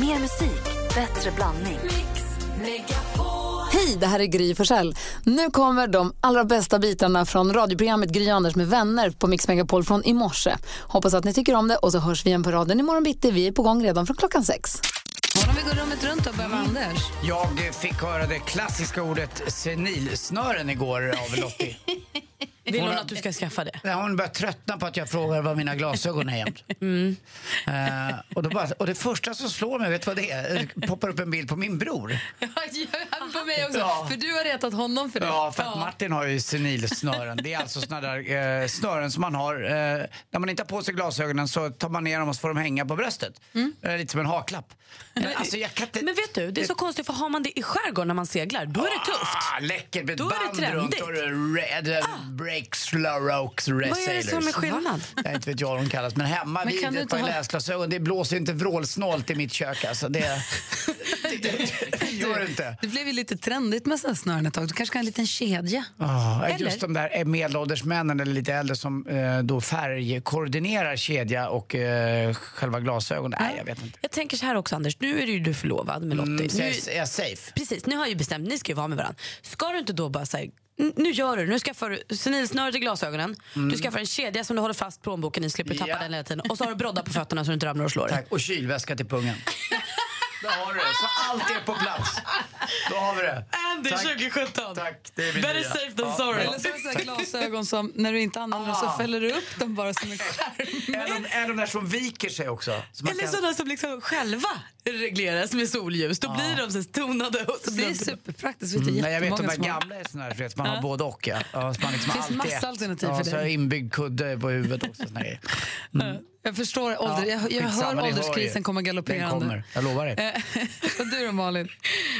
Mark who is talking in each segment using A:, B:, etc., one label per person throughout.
A: Mer musik, bättre blandning.
B: Hej, det här är Gry Forssell. Nu kommer de allra bästa bitarna från radioprogrammet Gry Anders med vänner på Mix Megapol från i morse. Hoppas att ni tycker om det och så hörs vi igen på raden imorgon bitti. Vi är på gång redan från klockan sex. Om vi går rummet runt och börjar med Anders.
C: Jag eh, fick höra det klassiska ordet senilsnören igår av Lottie.
D: Vill hon att du ska skaffa det?
C: Ja, Hon börjar tröttna på att jag frågar var mina glasögon är jämt.
D: Mm.
C: Eh, och, då bara, och det första som slår mig, vet du vad det är? Det poppar upp en bild på min bror.
B: på mig också,
C: Ja.
B: för du har retat honom för det.
C: Ja, för att Martin har ju senilsnören. Det är alltså såna där eh, snören som man har. Eh, när man inte har på sig glasögonen så tar man ner dem och så får de hänga på bröstet. Eh, lite som en haklapp. Men, alltså, jag kan inte...
D: Mm. Men vet du, det är så konstigt för har man det i skärgården när man seglar, då är det tufft.
C: Ah, läckert med ett
D: Då är det
C: band runt
D: trendigt.
C: och det är red ah. breaks Rocks Red
D: Vad är det som är
C: Sailors.
D: skillnad?
C: Jag inte vet jag vad de kallas, men hemma
B: Men
C: vid
B: kan du
C: ett par
B: inte ha-
C: läsglasögon, det blåser inte vrålsnålt i mitt kök alltså. Det, det, det, det gör det inte.
B: Det blev ju lite trendigt med sådana snören ett tag. Du kanske kan ha en liten kedja.
C: Ah,
D: Eller?
C: Just de där eh, medelålders männen eller lite äldre som eh, då färgkoordinerar kedja och eh, själva glasögonen. Nej, jag vet inte.
D: Jag tänker så här också Anders, nu är ju du förlovad med Lottie.
C: Mm, så jag,
D: Nu,
C: är jag safe?
D: precis, nu har jag ju bestämt, ni ska ju vara med varandra. Ska du inte då bara säga nu gör du det. Nu skaffar du senilsnöret i glasögonen, du skaffar en kedja som du håller fast plånboken i, slipper tappa
C: Mm. Ja.
D: den hela tiden. Och så har du brodda på fötterna så du inte ramlar och slår dig.
C: Tack. Och kylväska till pungen. Där har du det. Så allt är på plats. Då har vi det. Tack.
D: 2017!
C: Tack, det är min
D: Better
C: nya.
D: safe than
C: Ja,
D: sorry.
C: bra.
B: Eller så har du så här glasögon som när du inte använder dem
C: Ah.
B: så fäller du upp dem bara som en skärm.
C: Är de, är de där som viker sig också? Så man
D: Eller
C: kan-
D: sådana som liksom själva regleras med solljus. Då blir de så tonade. Och
B: Det
D: så
B: är
D: blir de-
B: superpraktiskt. Vet du,
C: Nej, jag vet de
B: jättemånga
C: där
B: som har-
C: gamla är såna här, för att man har både och. Ja. Ja, så man liksom
B: Finns
C: alltid
B: massa
C: ett.
B: alternativ för
C: ja, så
B: dig.
C: har jag inbyggd kudde på huvudet också. såna grejer.
B: Jag förstår ålder.
C: Ja,
B: jag jag
C: skitsamma,
B: hör
C: ni hör ju.
B: ålderskrisen komma galopperande.
C: Den kommer, jag lovar dig.
B: Eh, och du då Malin?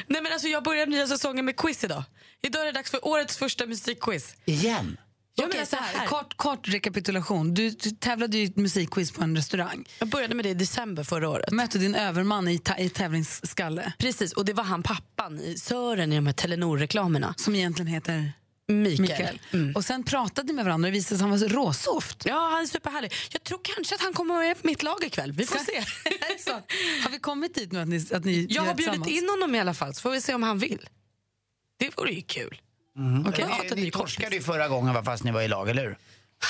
D: Nej, men alltså, jag börjar nya säsongen med quiz idag. Idag är det dags för årets första musikquiz.
C: Igen?
D: Jag,
B: Okej,
D: menar så alltså, här.
B: Kort, kort rekapitulation. Du, du tävlade ju i ett musikquiz på en restaurang.
D: jag började med det i december förra året.
B: Mötte din överman i, ta- i tävlingsskalle
D: Precis, och det var han pappan, i Sören i de här Telenor-reklamerna.
B: som egentligen heter
D: Mikael. Mm.
B: Mikael. Och sen pratade ni med varandra och det visade sig att han var så råsoft.
D: Ja, han är superhärlig. Jag tror kanske att han kommer vara med på mitt lag ikväll. Vi får se.
B: Så, har vi kommit dit nu att ni, att ni
D: Jag
B: gör
D: har bjudit
B: tillsammans?
D: in honom i alla fall, så får vi se om han vill. Det vore ju kul.
B: Okej.
D: Jag har fått en
C: ni
D: ny
C: ni torskade
D: kompis.
C: ju förra gången va, fast ni var i lag, eller hur?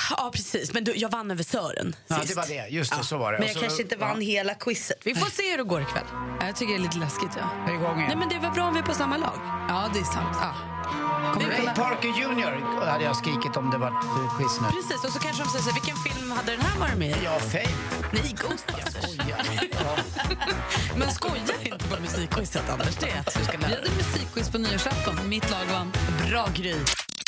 D: Ja, precis. Men du, jag vann över Sören
C: Ja,
D: sist.
C: det var det. Just det, så var det.
D: Men
C: Och
D: jag
C: så,
D: kanske inte vann hela quizet. Vi får se hur det går ikväll.
B: Ja, Jag tycker det är lite läskigt. Ja,
C: Ja, igång
D: Nej,
C: igen.
D: men det var bra om vi är på samma lag.
B: ja det är sant.
D: Ja.
B: Kommer
C: Ray
B: kunna-
C: Parker Jr hade jag skrikit om det var ett quiz nu.
D: Precis, och så kanske de säger så här, vilken film hade den här varit med i?
C: Ja, fej.
D: Nej, Ghostbusters. Men skoja inte på musikquizet, Anders. Det är att du ska
B: Vi
D: lära dig.
B: hade musikquiz på nyårsafton. Mitt lag vann. Bra Gry.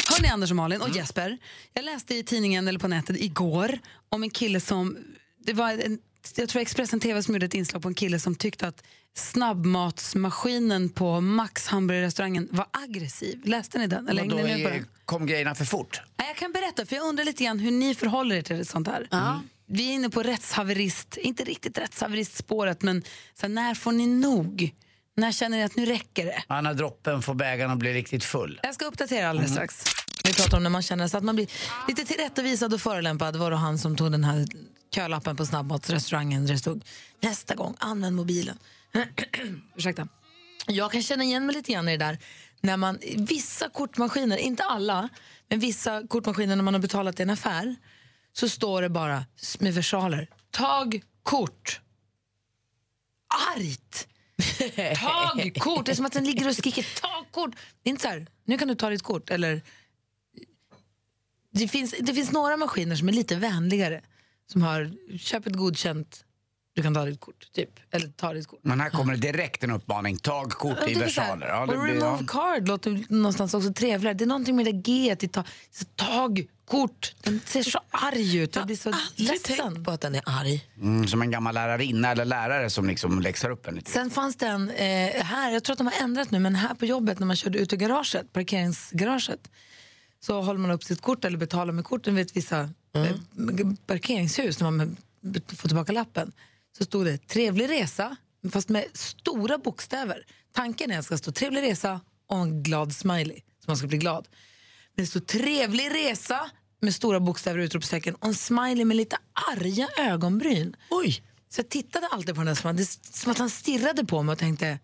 B: Hörni, Anders och Malin och Jesper. Jag läste i tidningen eller på nätet igår om en kille som... Det var en, jag tror Expressen TV som gjorde ett inslag på en kille som tyckte att snabbmatsmaskinen på Max hamburgerrestaurangen var aggressiv. Läste ni den? Eller
C: Och då
B: hängde ni med på
C: är,
B: den?
C: kom grejerna för fort.
B: Nej, jag kan berätta, för jag undrar lite grann hur ni förhåller er till sånt här. Vi är inne på rättshaverist, inte riktigt rättshaveristspåret, men så här, när får ni nog? När känner ni att nu räcker det?
C: Anna droppen får bägaren att bli riktigt full.
B: Jag ska uppdatera alldeles strax.
E: Vi pratar om när man känner sig att man blir lite tillrättavisad och förolämpad. Var det han som tog den här kölappen på snabbmatsrestaurangen där det stod nästa gång, använd mobilen. Ursäkta. Jag kan känna igen mig lite grann i det där. När man, vissa kortmaskiner, inte alla, men vissa kortmaskiner när man har betalat i en affär så står det bara med versaler, tag kort. Argt! Tag kort! Det är som att den ligger och skriker tag kort. Det är inte så här, nu kan du ta ditt kort. Eller, det, finns, det finns några maskiner som är lite vänligare. Som har köp ett godkänt, du kan ta ditt kort. Typ. Eller ta ditt kort.
C: Men här kommer det direkt en uppmaning. Tag kort i
E: Jag tycker så här,
C: versaler. Ja, det
E: och
C: blir- ja.
E: remove card låter någonstans också trevligare. Det är någonting med det G i tag, så tag, kort. Den ser så arg ut. Jag blir så ledsen.
D: på att den är arg.
C: Mm, som en gammal lärarinna eller lärare som liksom läxar upp en lite.
E: Sen fanns det en eh, här, jag tror att de har ändrat nu, men här på jobbet när man körde ut ur garaget, parkeringsgaraget, så håller man upp sitt kort eller betalar med korten vid ett vissa eh, parkeringshus när man be- får tillbaka lappen. Så stod det trevlig resa, fast med stora bokstäver. Tanken är att det ska stå trevlig resa och en glad smiley, så man ska bli glad. Men det stod trevlig resa med stora bokstäver och utropstecken och en smiley med lite arga ögonbryn.
D: Oj!
E: Så jag tittade alltid på den där som, att- det är som att han stirrade på mig och tänkte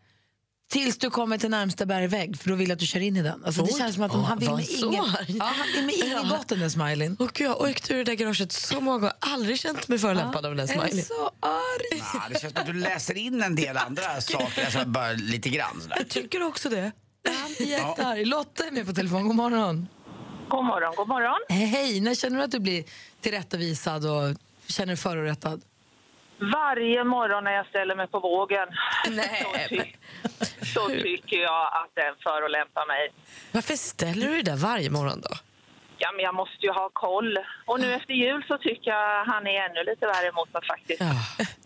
E: Tills du kommer till närmsta bergvägg, för då vill jag att du kör in i den. Alltså, det känns som att de, han vill
D: var
E: med
D: så
E: inget,
D: arg?
E: ja, han vill med inget gott den där smileyn.
D: Och jag har åkt ur det där garaget så många gånger. Aldrig känt mig förolämpad av den där
E: Jag är
D: smileyn.
E: så arg!
C: Ah, det känns som att du läser in en del andra saker, alltså bara lite grann sådär.
D: Tycker du också det?
E: Han är jättearg. Lotta är med på telefon. God morgon.
F: God morgon, god morgon.
E: Hej, när känner du att du blir tillrättavisad och känner dig förorättad?
F: Varje morgon när jag ställer mig på vågen
D: Nej,
F: så, ty- så tycker jag att den förolämpar mig.
D: Varför ställer du det där varje morgon då?
F: Ja, men jag måste ju ha koll. Och nu efter jul så tycker jag han är ännu lite värre emot mig faktiskt.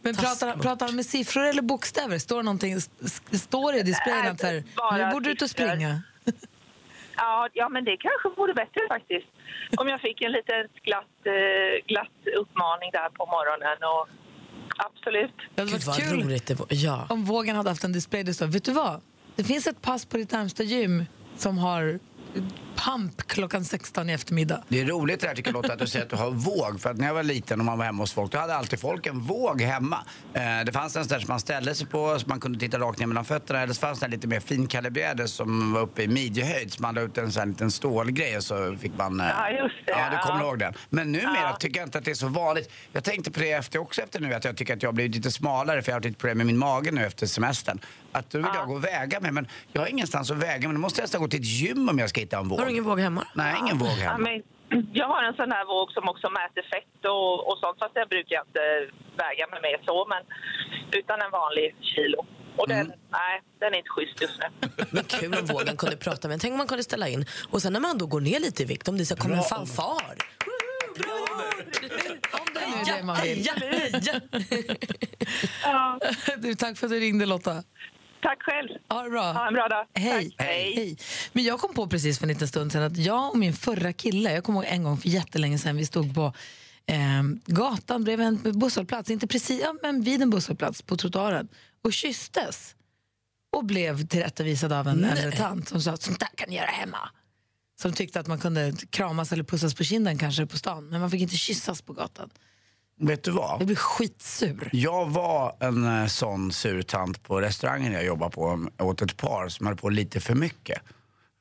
E: Men pratar, han- pratar han med siffror eller bokstäver? Står det någonting, s- s- står det i displayen
F: Nej,
E: att så här,
F: bara
E: nu borde du ut och
F: siffror.
E: springa?
F: Ja, ja, men det kanske vore bättre faktiskt. Om jag fick en liten glatt, eh, glatt uppmaning där på morgonen. Och absolut.
E: Det hade
D: Gud
E: varit
D: vad
E: kul
D: roligt det var. Ja.
E: om vågen hade haft en display där det står, vet du vad? Det finns ett pass på ditt närmsta gym som har pump klockan 16 i eftermiddag.
C: Det är roligt det här tycker jag Lotta, att du säger att du har våg. För att när jag var liten och man var hemma hos folk, då hade alltid folk en våg hemma. Eh, det fanns en sån där som man ställde sig på, så man kunde titta rakt ner mellan fötterna. Eller så fanns det en lite mer finkalibrerade som var uppe i midjehöjd. Så man la ut en sån här liten stålgrej och så fick man... eh,
F: Ja, just det,
C: Ja, du kommer
F: ja.
C: ihåg den. Men numera
F: Ja.
C: tycker jag inte att det är så vanligt. Jag tänkte på det efter, också efter nu, att jag tycker att jag har blivit lite smalare för jag har haft lite problem med min mage nu efter semestern. Att då vill jag gå och väga mig, men jag har ingenstans att väga mig. Då måste jag nästan gå till ett gym om jag ska hitta en våg.
D: Har du ingen våg hemma?
C: Nej, ingen våg hemma.
F: Ja, men jag har en sån här våg som också mäter fett och, och sånt. Fast den brukar jag inte väga med mig så, men utan en vanlig kilo. Och den, nej, den är inte schysst just nu.
D: Men kul om vågen kunde prata med en. Tänk om man kunde ställa in. Och sen när man då går ner lite i vikt, om det så kommer en fanfar.
E: Om det nu är det man vill.
D: Ja, ja.
F: Ja.
E: Du, tack för att du ringde Lotta.
F: Tack själv.
E: Ha det bra.
F: Ha en bra dag.
E: Hej.
F: Tack. Hej.
E: Hej. Men jag kom på precis för en liten stund sedan att jag och min förra kille, jag kommer ihåg en gång för jättelänge sedan, vi stod på eh, gatan bredvid en busshållplats, inte precis, ja, men vid en busshållplats på trottoaren och kysstes och blev tillrättavisad av en äldre tant som sa sånt där kan ni göra hemma. Som tyckte att man kunde kramas eller pussas på kinden kanske på stan, men man fick inte kyssas på gatan.
C: Vet du
E: Jag
C: vad?
E: blev skitsur.
C: Jag var en eh, sån surtant på restaurangen jag jobbade på åt ett par som höll på lite för mycket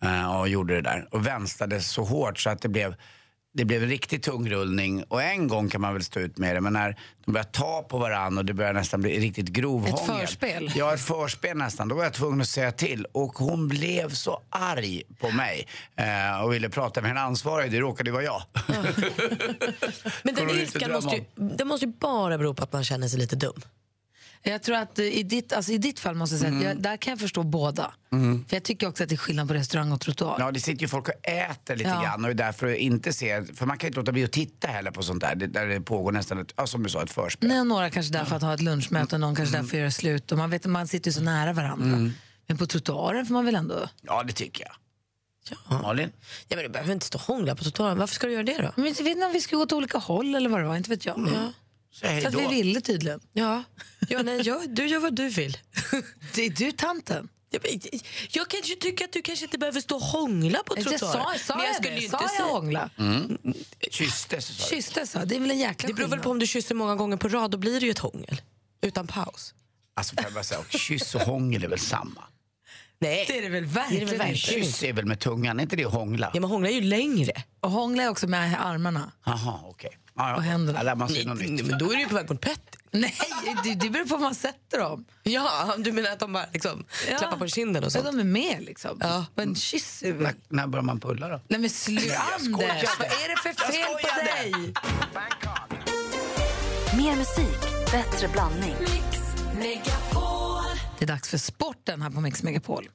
C: eh, och gjorde det där. Och vänstade så hårt så att det blev det blev en riktig tungrullning och en gång kan man väl stå ut med det men när de börjar ta på varandra och det börjar nästan bli riktigt grovhångel.
E: Ett förspel?
C: Ja, ett förspel nästan. Då var jag tvungen att säga till och hon blev så arg på mig eh, och ville prata med en ansvarig. Det råkade ju vara jag.
D: Men den
C: Kommer du inte
D: ilskan
C: drömma
D: måste ju, den måste ju bara bero på att man känner sig lite dum.
E: Jag tror att eh, i ditt, alltså i ditt fall måste jag
C: Mm.
E: säga att jag, där kan jag förstå båda. För jag tycker också att det är skillnad på restaurang och trottoar.
C: Ja, det sitter ju folk och äter lite
E: Ja.
C: grann och är därför inte ser, för man kan ju inte låta bli att titta heller på sånt där, det, där det pågår nästan ett, ja, som du sa, ett förspel.
E: Nej, och några kanske där för att ha ett lunchmöte, någon kanske
C: Mm.
E: där för att göra slut. Och man, vet, man sitter ju så nära varandra. Men på trottoaren får man väl ändå...
C: Ja, det tycker jag. Malin?
D: Ja, men du behöver inte stå och hångla på trottoaren. Varför ska du göra det då?
E: Men inte vet inte om vi skulle gå åt olika håll eller vad det var, inte vet jag. Ja.
C: Säg Mm. hej
E: För att vi
C: då.
E: ville tydligen.
D: Ja, ja nej, jag, du gör vad du vill.
E: Det är du tanten.
D: Jag, jag kanske tycker att du kanske inte behöver stå och hångla på
E: Jag sa,
D: trottoaren.
E: sa
D: men jag
E: jag,
D: skulle
E: det?
D: ju
E: Sa
D: inte
E: jag
D: säga...
E: hångla?
C: Kysstes, sa du.
E: Kysstes va? Det är väl en jäkla
D: Det beror väl
E: skillnad?
D: på om du kysser många gånger på rad, då blir det ju ett hångel. Utan paus.
C: Alltså får jag bara säga, och kyss och hångel är väl samma?
D: Nej,
E: Det är det väl verkligen,
D: Det är det väl
E: inte.
C: Kyss är väl med tungan, är inte det att hångla?
D: ja, man hånglar ju längre.
E: Och hångla är också med armarna.
C: Jaha, okej. Ja, ja.
E: Och händerna.
C: Ja, lär man sig något
D: Nej,
C: nytt.
D: men då är du ju på väg mot Petter.
E: Nej, det, det beror på vad man sätter dem.
D: Ja, du menar att de bara liksom
E: Ja.
D: klappar på kinden och
E: Ja,
D: sånt?
E: de är med liksom.
D: Ja.
E: Men kyss är
C: När,
E: väl...
C: när börjar man pulla då?
E: Nej men sluta
C: skojade.
E: Anders, vad är det för fel på
C: skojade.
E: dig?
A: Mer musik, bättre blandning.
E: Det är dags för sporten här på Mix Megapol.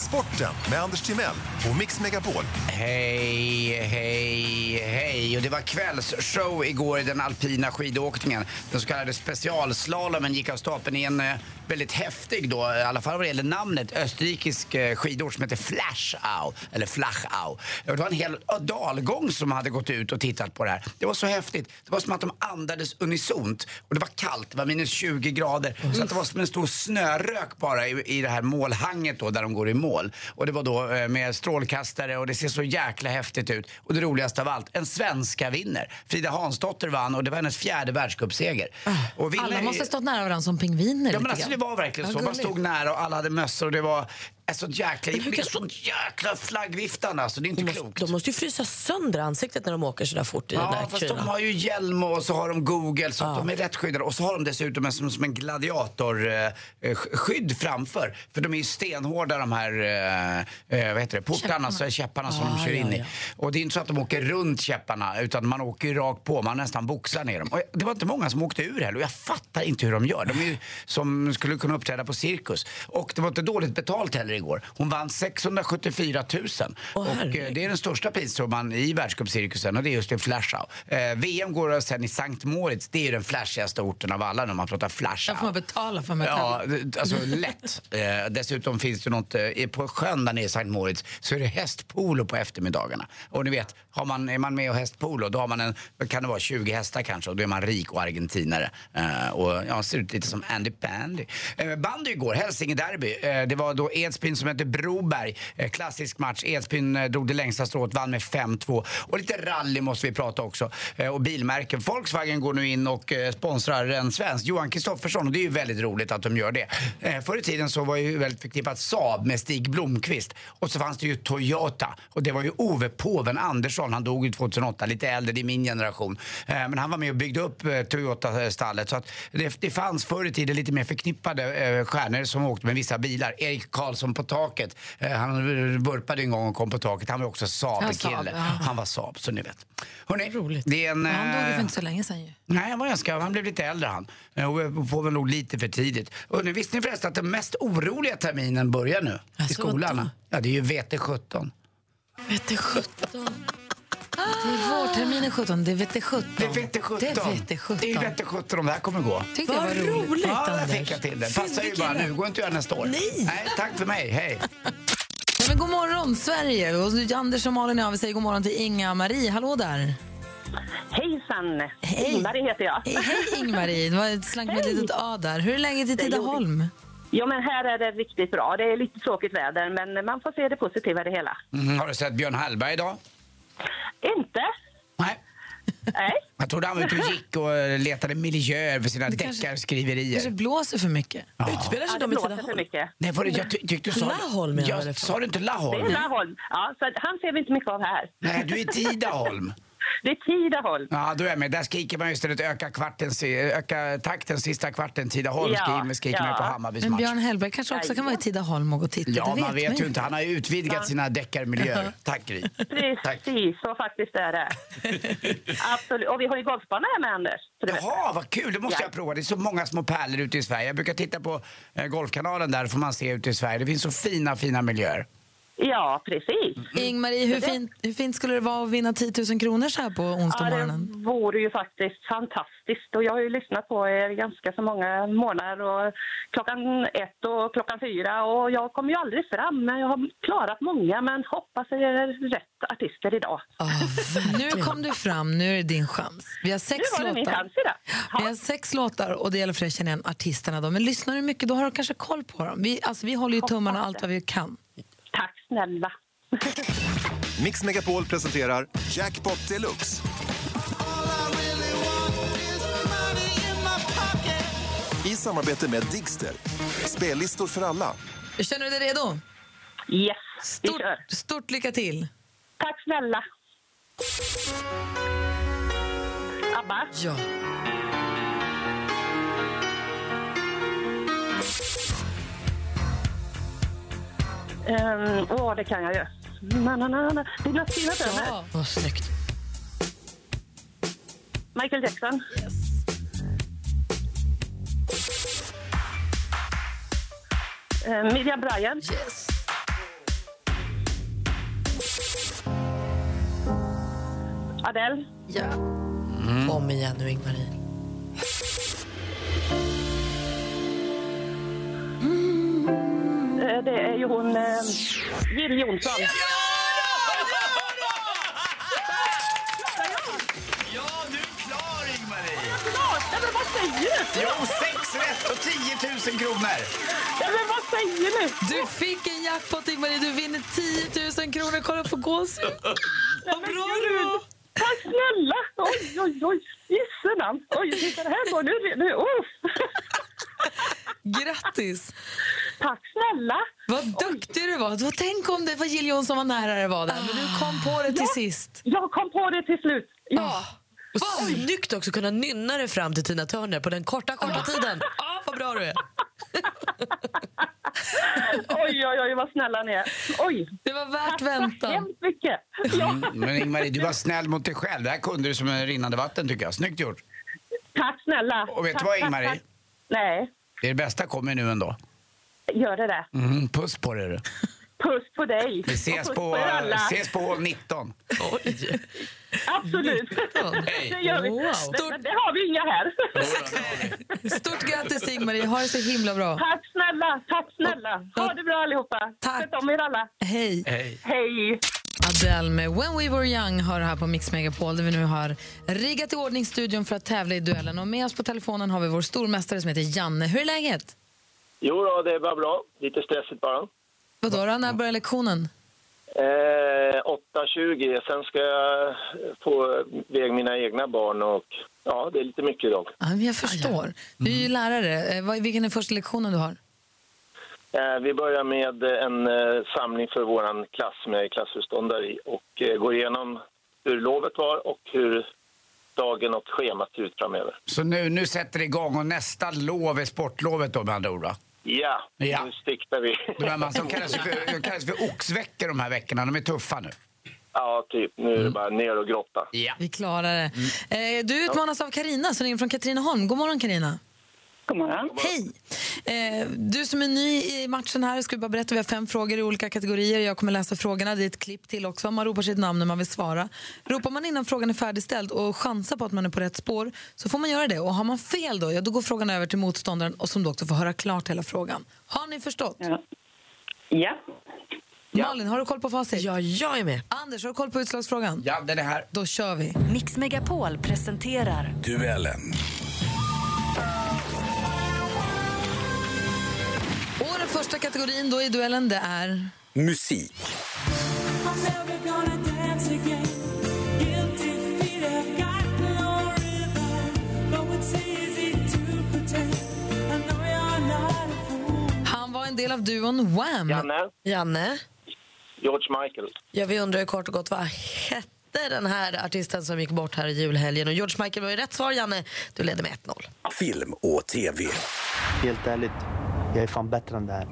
G: Sporten med Anders Timell och Mix Megapol.
C: Hej, hej, hej. i och det var kvällsshow igår i den alpina skidåkningen. Den så kallade specialslalomen gick av stapeln i en eh, väldigt häftig då, i alla fall vad det gäller namnet, österrikisk eh, skidort som heter Flashau, eller Flachau. Det var en hel ja, dalgång som hade gått ut och tittat på det här. Det var så häftigt. Det var som att de andades unisont och det var kallt, det var minus 20 grader. Så att det var som en stor snörök bara i, i det här målhanget då där de går i mål. Och det var då eh, med strålkastare och det ser så jäkla häftigt ut. Och det roligaste av allt, en svenska vinner. Frida Hansdotter vann och det var hennes fjärde världscupseger. Och vinner-
E: Ah, Alla måste ha stått nära varandra som pingviner.
C: Ja men
E: lite
C: alltså det
E: grann.
C: var verkligen
E: Vad
C: så. Man
E: gulligt.
C: stod nära och alla hade mössor och det var ett sånt jäkla, det blev sånt jäkla flaggviftande alltså. Det är inte klokt.
D: De måste ju frysa sönder ansiktet när de åker så där fort i den
C: Ja,
D: där
C: fast de
D: kylan.
C: har ju hjälm och så har de Google så att de är rätt skyddade. Och så har de dessutom en, som, som en gladiatorskydd eh, sk- skydd framför. För de är ju stenhårda de här eh, eh, vad heter det, portarna, så är käpparna som de kör in i. Och det är inte så att de åker runt käpparna utan man åker ju rakt på, man nästan boxar ner dem. Och det var inte många som åkte ur heller och jag fattar inte hur de gör. De är ju som skulle kunna uppträda på cirkus. Och det var inte dåligt betalt heller igår. Hon vann 674 000. och
D: Åh,
C: eh,
D: herregud.
C: det är den största prissumman i världscupcirkusen och det är just en flashout. Eh, VM går sen i Sankt Moritz, det är ju den flashigaste orten av alla när man pratar flashout.
E: Där får man betala för mig
C: Ja, det- alltså lätt. Eh, dessutom finns det något, eh, i- på sjön där nere i Sankt Moritz så är det hästpolo på eftermiddagarna. Och ni vet, har man, är man med och hästpolo då har man en, vad kan det vara 20 hästar kanske och då är man rik och argentinare. Eh, och ja, ser ut lite som Andy Pandy. Eh, bandy igår, Hälsinge derby. Eh, det var då Edsbyn som hette Broberg. Eh, klassisk match. Edsbyn eh, drog det längsta strået, vann med 5-2. Och lite rally måste vi prata också. Eh, och bilmärken. Volkswagen går nu in och eh, sponsrar en svensk, Johan Kristoffersson. Och det är ju väldigt roligt att de gör det. Eh, förr i tiden så var ju väldigt förknippat Saab med Stig Blomqvist. Och så fanns det ju Toyota. Och det var ju Ove Påven Andersson. Han dog ju 2008, lite äldre, det är min generation. Eh, men han var med och byggde upp eh, Toyota-stallet. Så att det, det fanns förr i tiden lite mer förknippade eh, stjärnor som åkte med vissa bilar. Erik Karlsson på taket. Eh, han vurpade en gång och kom på taket. Han var också
E: Ja,
C: Saab-kille.
E: Saab, ja.
C: Han var Saab, så ni vet. Hörrni, det är en...
E: Ja, Han dog ju
C: eh,
E: för inte så länge sedan ju.
C: Nej, han var ganska, han blev lite äldre han. Eh, Och påven nog lite för tidigt. Och nu visste ni förresten att den mest oroliga terminen börjar nu i
D: Alltså,
C: skolan?
D: vadå?
C: Ja, det är ju VT17.
D: Vete sjutton.
E: Det är vårterminen 17, det är VT17.
C: Det är VT17!
E: Det är VT17.
C: Det är VT17 om det här kommer gå.
E: Tyckte jag
D: Vad
E: var roligt.
D: roligt,
E: Ja,
C: Ja, där
E: Anders.
C: fick jag till det. Passar ju bara nu, går inte att göra nästa år.
D: Nej.
C: Tack för mig, hej!
E: Ja, men god morgon, Sverige! Och Anders och Malin och jag, vi säger god morgon till Inga-Marie. Hallå där!
G: Hejsan!
E: Hej.
G: Ingmarie heter jag.
E: Hej, hej Ingmarie! Det var ett slank med ett litet A där. Hur är läget i Tidaholm?
G: Jo, men här är det riktigt bra. Det är lite tråkigt väder, men man får se det positiva i det hela.
C: Mm, har du sett Björn Hallberg idag?
G: Inte?
C: Nej.
G: Nej.
C: Jag trodde han var ute och gick och eh, letade miljöer för sina
E: kanske-
C: deckarskriverier.
E: kanske blåser för mycket.
D: Utspelar sig
G: Ja, det
D: de i
G: blåser för
D: Tidaholm?
G: mycket.
C: Nej, var det, jag ty- tyckte du sa...
D: Laholm menar jag, eller?
C: jag, Sa du inte
G: Det
C: Laholm?
G: är Laholm. Ja, så att han ser vi inte mycket av här.
C: Nej, du är Tidaholm.
G: Det är Tidaholm.
C: Ja, då är jag med. Där skriker man ju istället öka, kvarten, si- öka takten sista kvarten. Tidaholm
G: Ja,
C: skriker, skriker man ju på
G: ja.
C: Hammarbys
E: Men
C: match.
E: Björn Hellberg kanske också kan vara i Tidaholm och gå och titta.
C: Ja,
E: det
C: man vet
E: man
C: ju inte. Han har ju utvidgat sina deckarmiljöer. Tack, Gry. Tack.
G: Precis, så faktiskt är det. Absolut. Och vi har ju golfbana här med Anders. så det vet du.
C: Jaha, vad kul! Det måste
G: Ja.
C: jag prova. Det är så många små pärlor ute i Sverige. Jag brukar titta på eh, Golfkanalen där, får man se ute i Sverige. Det finns så fina, fina miljöer.
G: Ja, precis.
E: Ingmarie, hur
G: Det-
E: fint, hur fint skulle det vara att vinna 10 000 kronor så här på
G: Ja, det
E: onsdagsmorgonen?
G: vore ju faktiskt fantastiskt. Och jag har ju lyssnat på er ganska så många månader. Och klockan ett och klockan fyra. Och jag kommer ju aldrig fram. Men jag har klarat många. Men hoppas jag är rätt artister idag.
E: nu kom du fram, nu är det din chans. Vi har sex
G: Nu var det min
E: låtar.
G: chans idag.
E: Vi har sex låtar och det gäller för dig att känna igen artisterna. Då. Men lyssnar du mycket då har du kanske koll på dem. Vi, alltså, vi håller ju tummarna allt vad vi kan.
G: Tack snälla.
H: Mix Megapol presenterar Jackpot Deluxe. I samarbete med Digster. Spellistor för alla.
E: Känner du dig redo?
G: Yes, vi
E: Stort,
G: kör.
E: stort lycka till.
G: Tack snälla. Abba,
E: Ja.
G: um, åh det kan jag ju. Na, na, na, na. Det är något fina
E: ja. Vad snyggt.
G: Michael Jackson. Eh, Miriam Bryant.
E: Yes.
G: Ja, Adele.
D: Kom igen nu, Ingmarie.
G: Eh, Det är ju hon, eh, Jill Johnson.
C: Ja, du är klar Ingmarie!
G: Nej, men vad säger du?
C: Jo, sex rätt och 10 000 kronor!
G: Nej, men vad säger du?
E: Du fick en jackpot, Ingmarie. Du vinner 10 000 kronor. Kolla på gåshud. Vad bra du var.
G: Tack snälla! Oj, oj, oj! Gissenan! Oj, titta det här går nu. nu uff.
E: Grattis!
G: Tack snälla!
E: Vad duktig du var. Vad- Tänk om det var Jill Johnson var nära det var där, men du kom på det
D: Ah.
E: till sist.
G: Jag kom på det till slut.
E: Ah.
G: Ja.
D: Och Ah. snyggt också att kunna nynna dig fram till Tina Turner på den korta, korta tiden. Ah, vad bra du är.
G: Oj, oj, oj, vad snälla ni är. Oj!
E: Det var värt
G: Tack
E: väntan.
G: hemskt mycket. Ja,
C: Men Ingmarie, du var snäll mot dig själv. Det här kunde du som en rinnande vatten tycker jag. Snyggt gjort!
G: tack snälla.
C: Och vet du
G: Tack,
C: vad,
G: tack,
C: Ingmarie?
G: tack. Nej,
C: Det bästa kommer nu ändå.
G: gör det där.
C: Mm, puss på dig du.
G: Puss på dig.
C: Vi ses
G: Och puss
C: på, eh,
G: er alla.
C: ses på hål 19.
G: Absolut. Det gör vi.
E: Stort-
G: Men det har vi inga här.
E: Stort grattis, Ingmarie. Ha det så himla bra.
G: Tack snälla, tack snälla. Ha det bra allihopa.
E: Tack.
G: Sköt om er alla.
E: Hej!
G: Hej!
E: Adele med When We Were Young har här på Mix Megapol där vi nu har riggat i ordning studion för att tävla i duellen. Och med oss på telefonen har vi vår stormästare som heter Janne. Hur är läget?
I: Jo då, det är bara bra. Lite stressigt bara.
E: Vadå, då, när börjar lektionen?
I: Eh, 8.20, sen ska jag få iväg mina egna barn och ja, det är lite mycket idag.
E: Ja, men jag förstår. Du är ju lärare. Eh, vad- Vilken är första lektionen du har?
I: Eh, vi börjar med en eh, samling för vår klass med klassföreståndare i och eh, går igenom hur lovet var och hur dagen och schemat ser ut framöver.
C: Så nu, nu sätter det igång och nästa lov är sportlovet då med andra ord va?
I: Ja,
C: Ja.
I: nu siktar vi.
C: De här man, som kallas för, de kallas för oxveckor de här veckorna, de är tuffa nu.
I: ja, typ. Nu är det bara ner och grotta.
C: Ja.
E: Vi klarar det. Eh, du utmanas av Karina som ringer från Katrineholm. God morgon Karina.
G: God morgon.
E: Hej! Eh, du som är ny i matchen här, ska vi bara berätta, vi har fem frågor i olika kategorier. Jag kommer läsa frågorna, det är ett klipp till också. Man ropar sitt namn när man vill svara. Ropar man innan frågan är färdigställd och chansar på att man är på rätt spår så får man göra det. Och har man fel då, ja, då går frågan över till motståndaren och som då också får höra klart hela frågan. Har ni förstått?
G: Ja. ja.
E: Malin, har du koll på facit?
D: Ja, jag är med.
E: Anders, har du koll på utslagsfrågan?
C: Ja, den är här.
E: Då kör vi.
A: Mix Megapol presenterar
H: Duellen.
E: Och den första kategorin då i duellen, det är...
H: Musik.
E: Han var en del av duon Wham!
I: Janne,
D: Janne,
I: George Michael.
D: jag vill undra ju kort och gott vad hette den här artisten som gick bort här i julhelgen? Och George Michael var ju rätt svar, Janne. Du leder med 1-0.
H: Film och tv.
J: Helt ärligt, jag är fan bättre än det här.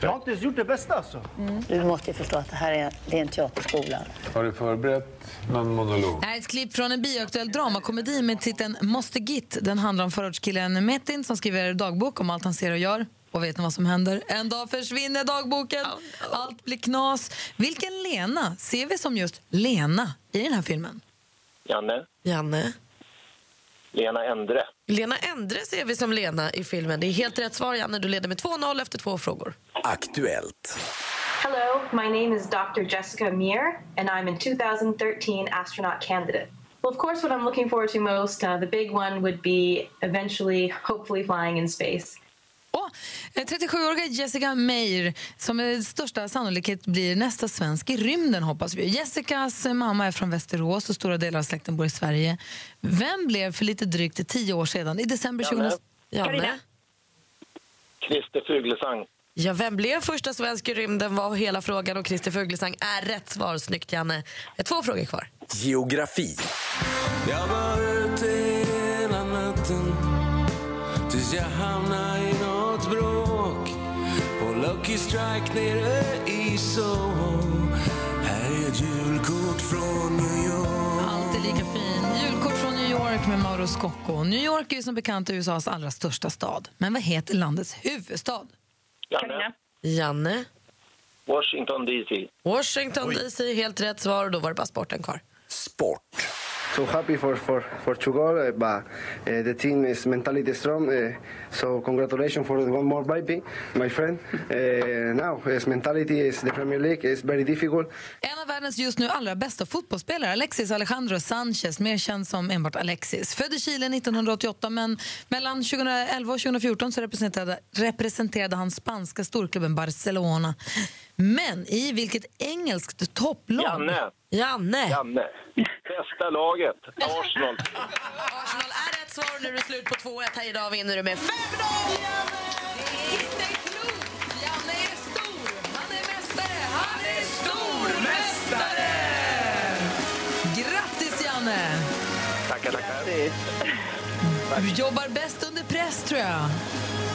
J: Jag har inte ens gjort det bästa alltså.
K: Du måste ju förstå att det här är, det är en teaterskola.
L: Har du förberett någon monolog?
E: Det här är ett klipp från en bioaktuell dramakomedi med titeln Måste Git. Den handlar om förortskillen Metin som skriver dagbok om allt han ser och gör. Och vet ni vad som händer? En dag försvinner dagboken. Allt blir knas. Vilken Lena ser vi som just Lena i den här filmen?
I: Janne,
D: Janne.
I: Lena Endre.
D: Lena Endre ser vi som Lena i filmen. Det är helt rätt svar, Janne. Du leder med 2-0 efter två frågor.
H: Aktuellt.
K: Hello, my name is Dr. Jessica Meir and I'm a 2013 astronaut candidate. Well, of course, what I'm looking forward to most, uh, the big one would be eventually, hopefully, flying in space.
E: Och 37-åriga eh, Jessica Meir som med största sannolikhet blir nästa svensk i rymden hoppas vi. Jessicas mamma är från Västerås och stora delar av släkten bor i Sverige. Vem blev för lite drygt tio år sedan, i december 2000...
D: Janne.
G: Carina.
I: Christer Fuglesang.
D: Ja, vem blev första svensk i rymden var hela frågan och Christer Fuglesang är rätt svar. Snyggt, Janne. Det är Två frågor kvar.
H: Geografi.
L: Jag var ute hela natten tills jag hamnade i något bråk på Lucky Strike nere i Soho. Här är ett julkort från New York.
E: Alltid lika fin. Julkort från New York med Mauro Scocco. New York är ju som bekant USAs allra största stad. Men vad heter landets huvudstad?
I: Janne,
D: Janne.
I: Washington DC.
D: Washington DC, helt rätt svar. Och då var det bara sporten kvar.
M: So happy for for for two goal, uh, but uh, the team is mentally strong. Uh, so congratulations for one more baby, my friend. Uh, now, his mentality is the Premier League is very difficult.
E: En av världens just nu allra bästa fotbollsspelare, Alexis Alejandro Sanchez, mer känd som enbart Alexis. Född i Chile 1988, men mellan 2011 och 2014 så representerade, representerade han spanska storklubben Barcelona. Men i vilket engelskt topplag?
I: Janne.
E: Janne.
I: Janne. Bästa laget, Arsenal.
D: Arsenal är rätt svar. Nu är det slut på 2-1. Här idag vinner du med 5-0!
E: Grattis, Janne!
I: Tackar, tackar.
E: Du jobbar bäst under press, tror jag.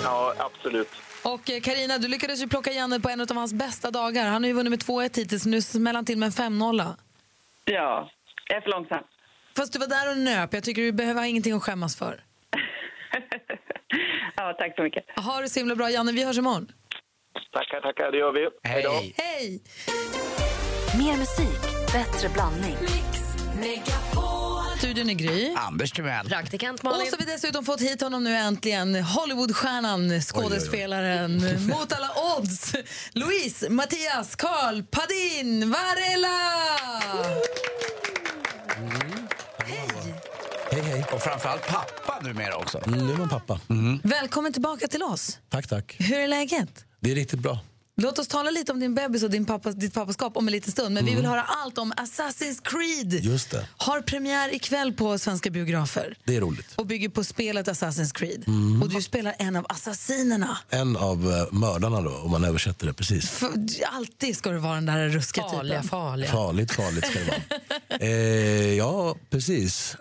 I: Ja, absolut.
E: Och eh, Carina, du lyckades ju plocka Janne på en av hans bästa dagar. Han har ju vunnit med 2-1 hittills, nu smäller han till med en 5-0.
N: Ja, jag är för långsam.
E: Fast du var där och nöp. Jag tycker du behöver ha ingenting att skämmas för.
N: Ja, tack så mycket.
E: Ha det så himla bra, Janne. Vi hörs imorgon.
I: Tackar, tackar. Det gör vi. Hej då.
E: Hej!
A: Mer musik, bättre blandning.
E: Studion är Gry.
C: Anders Timell.
D: Praktikant
E: Och så har vi dessutom fått hit honom nu äntligen, Hollywoodstjärnan, skådespelaren, mot alla odds, Louise, Mattias, Karl, Padin, Varela!
C: Hej, hej. Och framförallt pappa numera också.
O: Mm, nu är man pappa.
E: Välkommen tillbaka till oss.
O: Tack, tack.
E: Hur är läget?
O: Det är riktigt bra.
E: Låt oss tala lite om din bebis och din pappa, ditt pappaskap om en liten stund, men vi
O: Mm.
E: vill höra allt om Assassin's Creed.
O: Just det.
E: Har premiär ikväll på svenska biografer
O: Det är roligt.
E: och bygger på spelet Assassin's Creed.
O: Mm.
E: Och du spelar en av assassinerna.
O: En av eh, mördarna då, om man översätter det precis.
E: För, alltid ska du vara den där ruska typen. Farliga,
O: Farligt, farligt ska det vara. eh, ja, precis.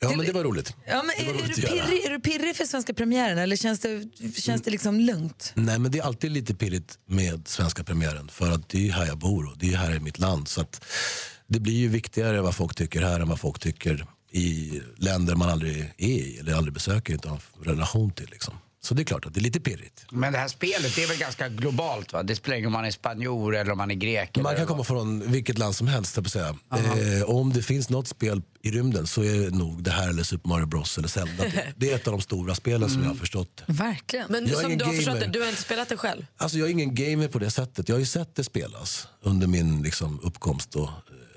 O: Ja, men det var roligt.
E: Ja, men
O: Det var
E: är, är,
O: roligt
E: du
O: att göra.
E: pirrig, är du pirrig för svenska premiären eller känns det, känns det liksom lugnt?
O: Nej, men det är alltid lite pirrigt med svenska premiären för att det är här jag bor och det är här i mitt land. Så att det blir ju viktigare vad folk tycker här än vad folk tycker i länder man aldrig är i eller aldrig besöker utan har relation till. Liksom. Så det är klart att det är lite pirrigt.
C: Men det här spelet, det är väl ganska globalt va? Det spelar ingen roll om man är spanjor eller om man är grek.
O: Man kan komma från vilket land som helst, höll jag på att säga. Eh, och om det finns något spel i rymden så är det nog det här eller Super Mario Bros eller Zelda. Det- Det är ett av de stora spelen som jag har förstått.
E: Verkligen.
D: Men
O: Jag är
D: som
O: ingen
D: du har förstått det,
O: gamer.
D: du har inte spelat det själv?
O: Alltså jag är ingen gamer på det sättet. Jag har ju sett det spelas under min liksom, uppkomst och eh,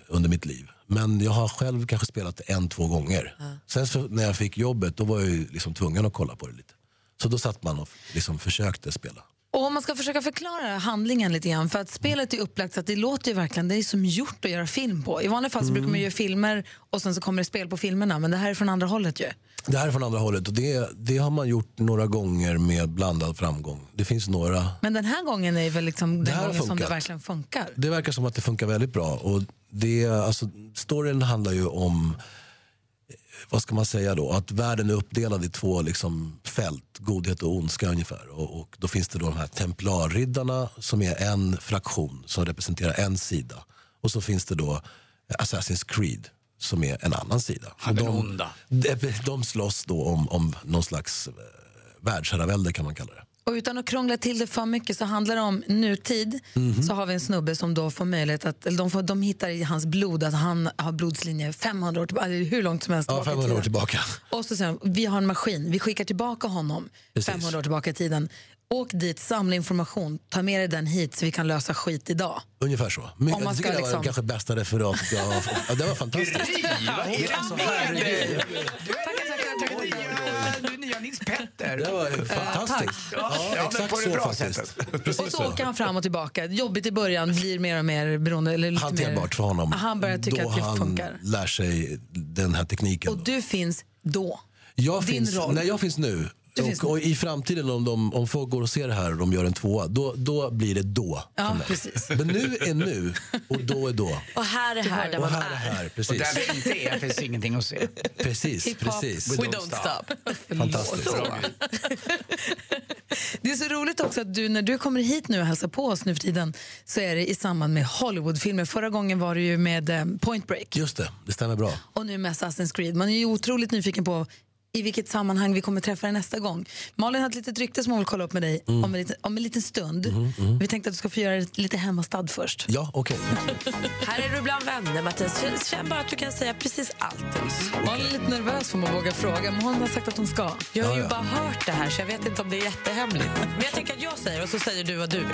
O: under mitt liv. Men jag har själv kanske spelat det en, två gånger. Sen så, när jag fick jobbet då var jag ju liksom tvungen att kolla på det lite. Så då satt man och liksom försökte spela.
E: Och om man ska försöka förklara handlingen lite grann, för att spelet är upplagt så att det låter ju verkligen, det är som gjort att göra film på. I vanliga fall så brukar
O: Mm.
E: man ju göra filmer och sen så kommer det spel på filmerna, men det här är från andra hållet ju.
O: Det här är från andra hållet och det, det har man gjort några gånger med blandad framgång. Det finns några
E: Men den här gången är väl liksom
O: Det
E: den
O: här har
E: gången som det
O: funkat.
E: verkligen funkar.
O: Det verkar som att det funkar väldigt bra. Och det, alltså, storyn handlar ju om, eh, vad ska man säga då, att världen är uppdelad i två liksom, fält, godhet och ondska ungefär. Och, och då finns det då de här templarriddarna som är en fraktion som representerar en sida. Och så finns det då Assassin's Creed som är en annan sida. Och de, de, de slåss då om, om någon slags eh, världsherravälde kan man kalla det.
E: Och utan att krångla till det för mycket så handlar det om nutid.
O: Mhm.
E: Så har vi en snubbe som då får möjlighet att, eller de, får, de hittar i hans blod att han har blodslinje 500 år tillbaka, eller hur långt som helst
O: Ja,
E: tillbaka i
O: 500 år
E: tiden.
O: tillbaka.
E: Och så säger de, vi har en maskin, vi skickar tillbaka honom
O: Precis.
E: 500 år tillbaka i tiden. Åk dit, samla information, ta med dig den hit så vi kan lösa skit idag.
O: Ungefär så.
E: Om
O: Men
E: man
O: jag tycker
E: ska
O: det var
E: liksom-
O: kanske bästa referatet jag har fått. Ja, det var fantastiskt.
C: Du är nya Nils Petter.
O: Det var fantastiskt.
C: Ja, ja, men på det bra
O: sättet. Precis
E: Och så åker han fram och tillbaka. Jobbigt i början, blir mer och mer beroende. Eller lite
O: Hanterbart
E: mer.
O: för honom.
E: Han börjar tycka
O: då
E: att det
O: han
E: funkar.
O: lär sig den här tekniken.
E: Och du finns då.
O: jag
E: din
O: finns,
E: roll.
O: Nej, jag finns nu.
E: Du
O: och,
E: finns nu.
O: och i framtiden om, de, om folk går och ser det här och de gör en tvåa, då, då blir det då. för
D: Ja,
O: mig.
D: precis.
O: Men nu är nu och då är då.
D: Och här är här där
O: och
D: man
O: här är
D: är.
O: här, precis.
C: Och där det inte är finns ingenting att se.
O: Precis,
E: Hip-hop,
O: precis.
E: we don't stop.
O: Fantastiskt.
E: Det är så roligt också att du, när du kommer hit nu och hälsar på oss nu för tiden så är det i samband med Hollywoodfilmer. Förra gången var det ju med eh, Point Break
O: Just det, det stämmer bra.
E: och nu med Assassin's Creed. Man är ju otroligt nyfiken på i vilket sammanhang vi kommer träffa dig nästa gång. Malin har ett litet rykte som hon vill kolla upp med dig
O: Mm.
E: om, en liten, om en liten stund.
O: Mhm, mhm.
E: Vi tänkte att du ska få göra det lite hemmastad först.
O: Ja, okej.
E: Här är du bland vänner, Mattias. Känn, känn bara att du kan säga precis allt till oss. Malin är lite nervös för man vågar fråga, men hon har sagt att hon ska.
D: Jag har ju bara hört det här så jag vet inte om det är jättehemligt. Men jag tänker att jag säger och så säger du vad du vill.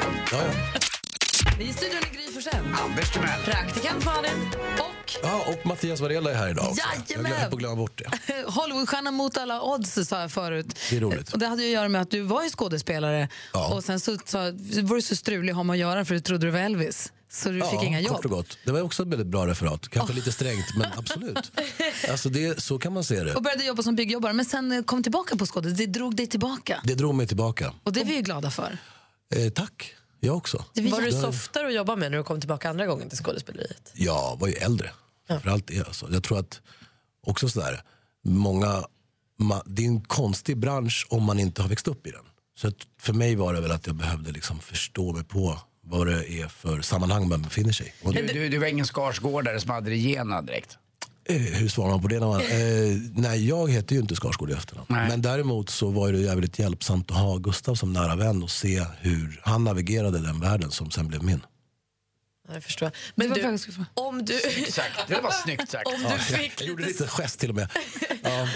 E: Vi i studion är Gry Forssell.
C: Anders Timell.
E: Praktikant Malin. Och
O: Ja, och Mattias Varela är här idag också. Jag
E: Jajamän.
O: glömde på att glömma bort det.
E: Hollywoodstjärna mot alla odds, sa jag förut.
O: Det är roligt.
E: Och det hade ju att göra med att du var ju skådespelare och sen så, så var du så strulig har man att göra för du trodde du var Elvis. Så du fick inga
O: kort
E: jobb.
O: och gott. Det var också ett väldigt bra referat. Kanske lite strängt, men absolut. Alltså det, så kan man se det.
E: Och började jobba som byggjobbare, men sen eh, kom tillbaka på skådespel. Det drog dig tillbaka.
O: Det drog mig tillbaka.
E: Och det är vi ju glada för.
O: Eh, tack, jag också.
D: Var du
O: Det-
D: softare att jobba med när du kom tillbaka andra gången till skådespeleriet?
O: Ja, var ju äldre. Framförallt det. Alltså. Jag tror att också sådär, många, ma, det är en konstig bransch om man inte har växt upp i den. Så att för mig var det väl att jag behövde liksom förstå mig på vad det är för sammanhang man befinner sig i. Och
C: Du, du, du var ingen Skarsgårdare som hade det i generna direkt.
O: Eh, Hur svarar man på det? När man, eh, nej, jag heter ju inte Skarsgård i efternamn. Men däremot så var det jävligt hjälpsamt att ha Gustav som nära vän och se hur han navigerade den världen som sen blev min.
D: Ja, jag förstår. Men du, om du...
C: Exakt, det var snyggt sagt.
D: Om du
O: jag,
D: fick
O: jag gjorde lite gest till och med.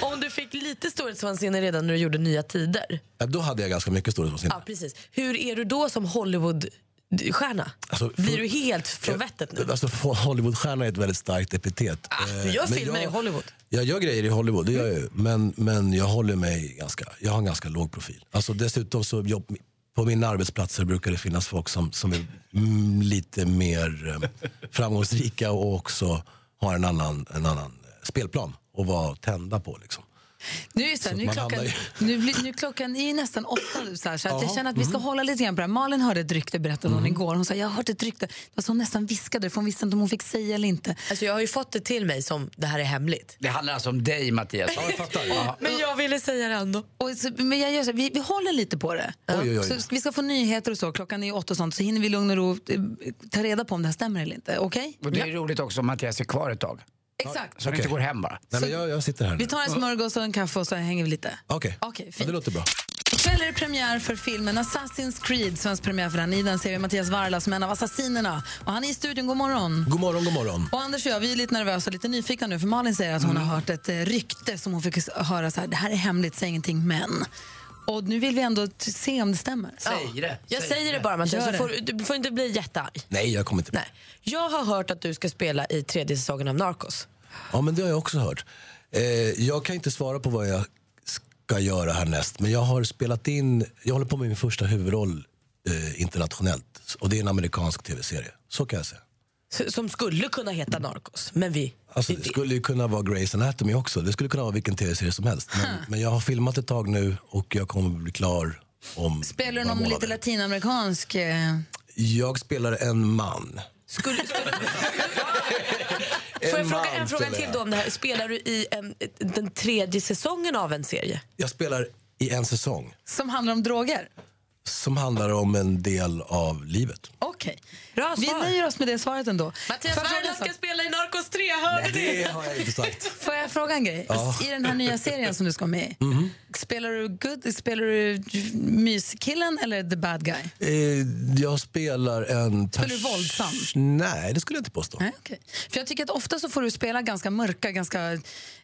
D: Om du fick lite storhetsvansinne redan när du gjorde Nya Tider,
O: Eh, Då hade jag ganska mycket storhetsvansinne.
D: ja, precis. hur är du då som Hollywoodstjärna?
O: Alltså,
D: Blir du helt från vettet?
O: Alltså, Hollywoodstjärna är ett väldigt starkt epitet. Eh,
D: Du gör
O: men
D: filmer Ah, i
O: jag,
D: Hollywood.
O: jag gör grejer i Hollywood, det gör jag ju. Men, men jag håller mig ganska, jag har en ganska låg profil. Alltså, dessutom så jobb, på mina arbetsplatser brukar det finnas folk som, som är mm, lite mer eh, framgångsrika och också har en annan, en annan eh, spelplan att vara tända på. Liksom.
E: Nu är, det så här,
O: Så
E: nu, är
O: man
E: klockan,
O: hamnar
E: nu, blir, nu är klockan är ju nästan åtta nu, så, här, så att jag
O: Jaha, Mm.
E: känner att vi ska hålla lite grann på det här. Malin hörde ett rykte, berättade hon igår. Hon sa, jag har hört ett rykte. Det var så hon nästan viskade, för hon visste inte om hon fick säga eller inte.
D: Alltså, jag har ju fått det till mig som det här är hemligt.
C: Det handlar alltså om dig Mattias. Ja, jag fattar. Ja.
D: Men jag ville säga det ändå.
E: Och så, men jag gör så, här, vi, vi håller lite på det.
C: Oj, oj, oj.
E: Så vi ska få nyheter och så. Klockan är åtta och sånt. Så hinner vi i lugn och ro eh, ta reda på om det här stämmer eller inte. Okej?
C: Och det är roligt också om Mattias är kvar ett tag.
E: Exakt.
C: Så han inte går hem bara.
O: Nej, men jag, jag sitter här nu.
E: Vi tar en smörgås och en kaffe och så hänger vi lite.
O: Okej, ja, det låter bra.
E: Ikväll är det premiär för filmen Assassin's Creed. Svensk premiär för den. I den ser vi Mattias Varla som en av assassinerna. Och han är i studion. God morgon.
O: God morgon, god morgon. Mm.
E: Och Anders och jag, vi är lite nervösa och lite nyfikna nu för Malin säger att hon har hört ett eh, rykte som hon fick s- höra så här, det här är hemligt, säg ingenting men. Och nu vill vi ändå t- se om det stämmer.
D: Ja. Jag säger det bara Mattias,
E: Gör
D: du får,
E: det.
D: du får inte bli jättearg.
O: Nej, jag kommer inte
D: Nej. Jag har hört att du ska spela i tredje säsongen av Narcos.
O: Ja, men det har jag också hört. Eh, jag kan inte svara på vad jag ska göra härnäst, men jag har spelat in, jag håller på med min första huvudroll eh, internationellt. Och det är en amerikansk tv-serie, så kan jag säga.
D: S- Som skulle kunna heta Narcos, men vi...
O: Alltså, det skulle ju kunna vara Grey's Anatomy också, det skulle kunna vara vilken tv-serie som helst. Men, men jag har filmat ett tag nu och jag kommer bli klar om
E: Spelar du
O: några
E: någon lite
O: månader.
E: latinamerikansk? eh,
O: Jag spelar en man.
D: Får jag
O: En
D: fråga
O: man
D: en fråga
O: spelar
D: till
O: jag.
D: då om det här? Spelar du i en, den tredje säsongen av en serie?
O: Jag spelar i en säsong
E: Som handlar om droger?
O: som handlar om en del av livet.
E: Okej. Vi nöjer oss med det svaret ändå.
D: Mattias
E: Får jag fråga
D: Varela
E: en sak?
D: ska spela i Narcos 3, hör du det?
O: jag inte sagt.
E: Får jag fråga en grej?
O: Ja. Mm-hmm.
E: I den här nya serien som du ska med i, spelar du, good, spelar du myskillen eller the bad guy?
O: Eh, jag spelar en...
E: Spelar du våldsam?
O: Nej, det skulle jag inte påstå.
E: Nej, okej. För jag tycker att ofta så får du spela ganska mörka, ganska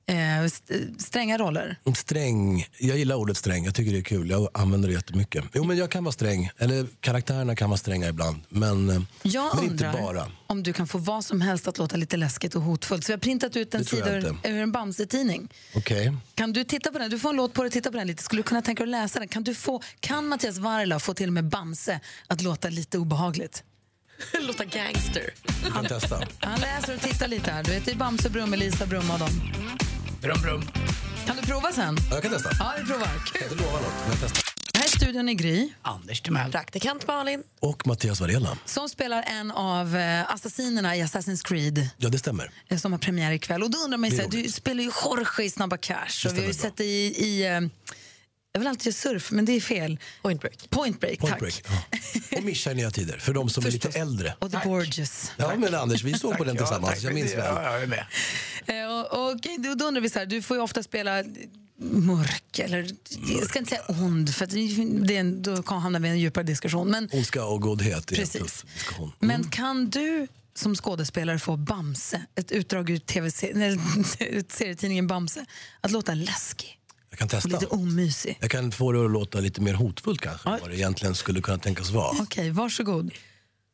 E: eh, st- stränga roller.
O: Sträng. Jag gillar ordet sträng. Jag tycker det är kul. Jag använder det jättemycket. Jo, men jag kan vara sträng. Eller karaktärerna kan vara stränga ibland. Men, eh,
E: Jag
O: men inte
E: undrar
O: bara.
E: om du kan få vad som helst att låta lite läskigt och hotfullt. Så vi har printat ut en
O: Det tror
E: sida
O: jag
E: ur,
O: inte.
E: ur en Bamse-tidning.
O: Okej.
E: Kan du titta på den? Du får en låt på dig, titta på den lite. Skulle du kunna tänka dig att läsa den? Kan, du få, kan Mattias Varela få till och med Bamse att låta lite obehagligt?
D: Låta gangster.
O: Vi kan testa.
E: Han läser och tittar lite här. Du vet, det är Bamse, Brumme, Lisa, Brumma och dem.
C: Brum, brum.
E: Kan du prova sen?
O: Jag kan testa.
E: Ja, vi provar. Kul.
O: Jag lovar något, men jag testar.
E: Här i studion är Gry.
C: Anders Timell.
E: Praktikant Malin.
O: Och Mattias Varela.
E: Som spelar en av eh, assassinerna i Assassin's Creed.
O: Ja, det stämmer.
E: eh, Som har premiär ikväll. Och då undrar man ju,
O: Det är
E: så här, du spelar ju Jorge i Snabba Cash. Och vi har
O: stämmer
E: ju sett dig i, i eh, jag vill alltid göra surf, men det är fel.
D: Point Break.
E: Point Break,
O: Point
E: tack.
O: break. Ja. Och Mischa i Nya Tider, för de som är lite äldre.
E: Och The Borges.
O: Ja, men Anders, vi såg på den
C: Ja,
O: tillsammans.
C: tack
O: jag
C: för
O: minns
C: det.
O: väl.
C: Ja, jag är med.
E: Eh, och, och då undrar vi så här, du får ju ofta spela mörk, eller jag ska inte säga ond, för att det är en, då kan hamna vi i en djupare diskussion. Men,
O: Ondska och godhet är en
E: Precis.
O: tuff diskussion. Mm.
E: men kan du som skådespelare få Bamse, ett utdrag ur, TV nej, ur serietidningen Bamse, att låta läskig
O: Jag kan
E: och
O: testa.
E: lite omysig?
O: Jag kan få det att låta lite mer hotfullt kanske, än vad det egentligen skulle kunna tänkas vara.
E: Okej, varsågod.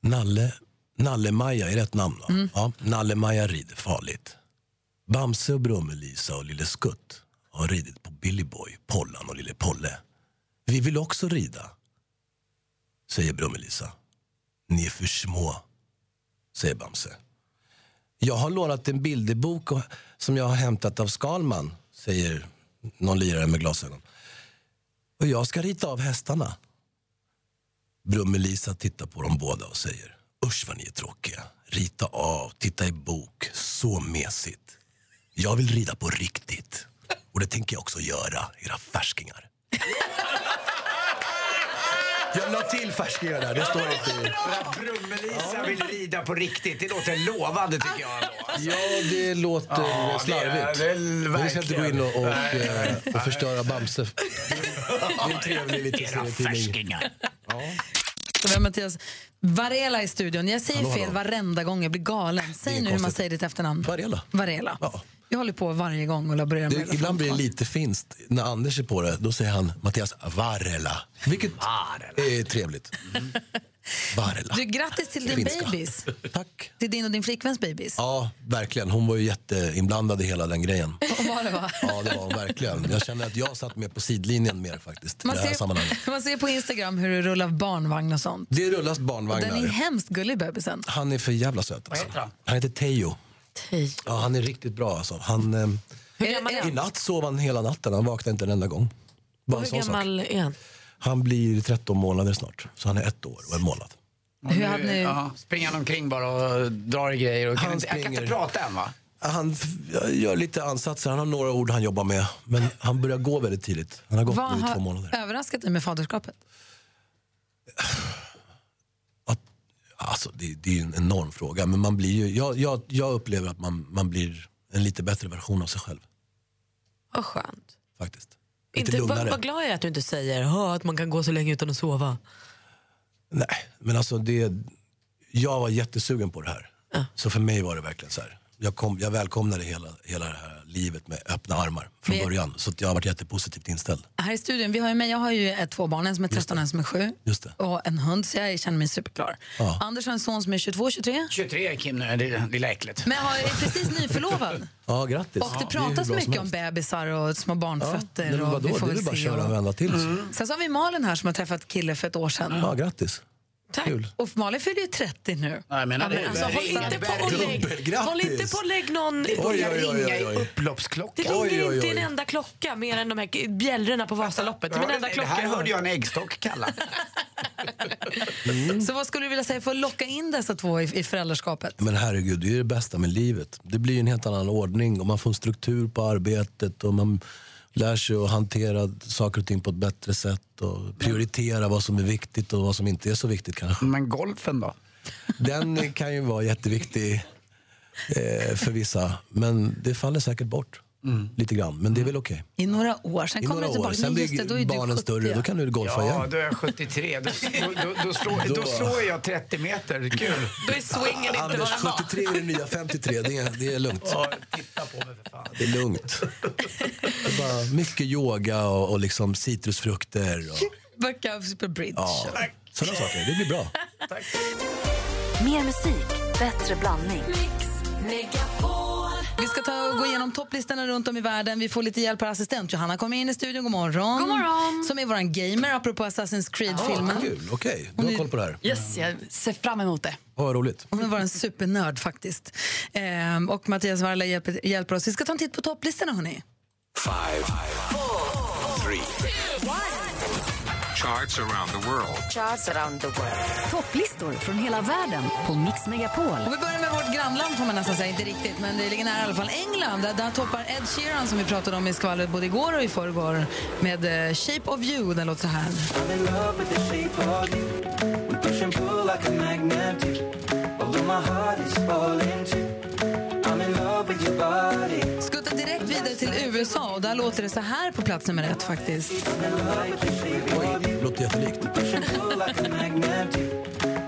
O: Nalle, Nalle-Maja är rätt namn va? Ja, Nalle-Maja rider farligt. Bamse och Brummelisa och Lille Skutt har ridit på Billy Boy, Pollan och Lille Polle. Vi vill också rida, säger Brummelisa. Ni är för små, säger Bamse. Jag har lånat en bilderbok och- som jag har hämtat av Skalman, säger någon lirare med glasögon. Och jag ska rita av hästarna. Brummelisa tittar på dem båda och säger Usch vad ni är tråkiga. Rita av, titta i bok. Så mesigt. Jag vill rida på riktigt. Och det tänker jag också göra, era färskingar. Jag la till färskingar där, det står inte i...
C: Brummelisa vill rida på riktigt. Det låter lovande tycker jag.
O: Ja, det låter
C: Ah. Ja,
O: eh, slarvigt.
C: det är- det är
O: Men vi ska inte gå in och, och,
C: verkligen.
O: eh, och förstöra Bamse. Det är en trevlig liten
C: Era
O: serietidning.
E: Så vi har Mattias Varela i studion. Jag säger
O: Hallå,
E: fel
O: hallå.
E: varenda gång, jag blir galen. Säg
O: Det
E: nu
O: är
E: hur man
O: konstigt.
E: säger ditt efternamn.
O: Varela.
E: Varela. Jag håller på varje gång och laborerar med
O: Det, ibland blir det lite finst. När Anders är på det, då säger han Mattias Varela. Vilket är trevligt. Varela.
E: Du, grattis till din
O: Finska.
E: babys.
O: Tack.
E: Till din och din flickväns babys.
O: Ja, verkligen. Hon var ju jätteinblandad i hela den grejen.
E: Och vad det var.
O: Ja, det var hon verkligen. Jag känner att jag satt med på sidlinjen mer faktiskt.
E: Man
O: i det här sammanhanget.
E: ser, man ser på Instagram hur det rullar barnvagn och sånt.
O: Det rullas
E: Och den är
O: barnvagnar.
E: hemskt gullig, bebisen.
O: Han är för jävla söt. Alltså. Han heter Teo. Ja, han är riktigt bra alltså. Han, ehm, I natt sov han hela natten. Han vaknade inte en enda gång. Bara en
D: Hur
O: sån sak.
D: gammal är han?
O: Han blir 13 månader snart. Så han är ett år och en månad.
C: Hur hade ni... ja, Eh, springer han omkring bara och drar i grejer. Och kan inte, han kan inte prata än va?
O: Han f- gör lite ansatser. Han har några ord han jobbar med. Men han börjar gå väldigt tidigt. Han har gått
E: Vad
O: nu i två
E: har
O: månader.
E: överraskat dig med faderskapet?
O: Alltså, det, det är ju en enorm fråga. Men man blir ju, jag, jag, jag upplever att man, man blir en lite bättre version av sig själv.
D: Vad skönt.
O: Faktiskt. Lite
D: Inte, vad,
O: lugnare.
D: vad glad jag är att du inte säger "Hå, att man kan gå så länge utan att sova.
O: Nej, men alltså det, jag var jättesugen på det här. Så för mig var det verkligen så här. Jag, kom, jag välkomnade hela, hela det här livet med öppna armar från
E: Vi-
O: början. Så att jag har varit jättepositivt inställd.
E: Här i studion, vi har ju, mig- jag har ju ett, två barn, en som är 13 och en som är 7.
O: Just det.
E: Och en hund, så jag känner mig superklar.
C: Ja.
E: Anders har en son som är 22, 23.
C: 23 är Kim nu, det det lilla äcklet.
E: Men har, är precis nyförlovad.
O: Ja, grattis.
E: Och det pratas mycket om bebisar och små barnfötter.
O: men
E: och
O: vadå,
E: vi får
O: det är
E: väl
O: väl bara
E: se
O: köra
E: och-
O: en vända till, så.
E: Mm. Sen så har vi Malin här som har träffat kille för ett år sedan.
O: Ja, grattis.
E: Tack. Och Malin fyller ju 30 nu.
C: Ja, jag menar det.
E: alltså, håll inte på
D: och lägg-
O: Dubbelgrattis.
D: Håll inte på och lägg någon...
O: Det börjar Oj, oj, oj, oj, oj. ringa i
C: upploppsklockan.
D: Det
C: Oj,
D: ringer
C: oj,
D: inte
C: oj.
D: en enda klocka mer än de här bjällrorna på Vasaloppet. Det är min enda
C: det
D: klocka
C: här
D: jag hör.
C: hörde jag en äggstock kalla.
E: Så vad skulle du vilja säga för att locka in dessa två i, i föräldraskapet?
O: Men herregud, det är ju det bästa med livet. Det blir ju en helt annan ordning och man får en struktur på arbetet och man lär sig att hantera saker och ting på ett bättre sätt och prioritera vad som är viktigt och vad som inte är så viktigt kanske.
C: Men golfen då?
O: Den kan ju vara jätteviktig eh, för vissa, men det faller säkert bort lite grann. Men det är väl okej.
E: I några år, sen
O: I
E: kommer
O: några
E: du
O: år,
E: tillbaka.
O: sen
E: Mm. Men just det, då är
O: blir barnen
E: du 70.
O: större, då kan du golfa
C: Ja,
O: igen.
C: då är jag 73. Då, då, då, då, slår, då
O: Då-
C: slår jag 30 meter. Kul.
D: Då är swingen inte
O: Anders,
D: vad den var.
O: 73 är det nya 53, det är, det är lugnt.
C: titta på mig för fan.
O: Det är lugnt. Det är bara mycket yoga och, och liksom citrusfrukter. Och,
E: Backa på bridge.
O: ja, sådana saker. Det blir bra.
A: Mer musik, bättre blandning.
E: Vi ska ta och gå igenom topplistorna runt om i världen. Vi får lite hjälp av assistent. Johanna kommer in i studion. God morgon.
P: God morgon.
E: Som är vår gamer, apropå Assassin's Creed-filmen.
O: Ja, kul, okej. Du har koll på det här.
P: Yes, jag ser fram emot det.
O: Ja, Vad roligt.
E: Hon var en supernörd faktiskt. Ehm, och Mattias Varla hjälper, hjälper oss. Vi ska ta en titt på topplistorna hörni.
Q: Five, four, three. Charts around the world.
A: Topplistor från hela världen på Mix Megapol.
E: Och vi börjar med vårt grannland får man nästan säga, inte riktigt, men det ligger nära i alla fall. England, där, där toppar Ed Sheeran som vi pratade om i skvallret både igår och i förrgår med eh, Shape of you. Den låter så här.
R: I'm in love with the shape of you. We push and pull like a magnet do. Although my heart is falling too. I'm in love with your body.
E: Skuttar direkt vidare till USA och där låter det så här på plats nummer ett faktiskt.
O: Låter jättelikt.
R: Push and pull like a magnet.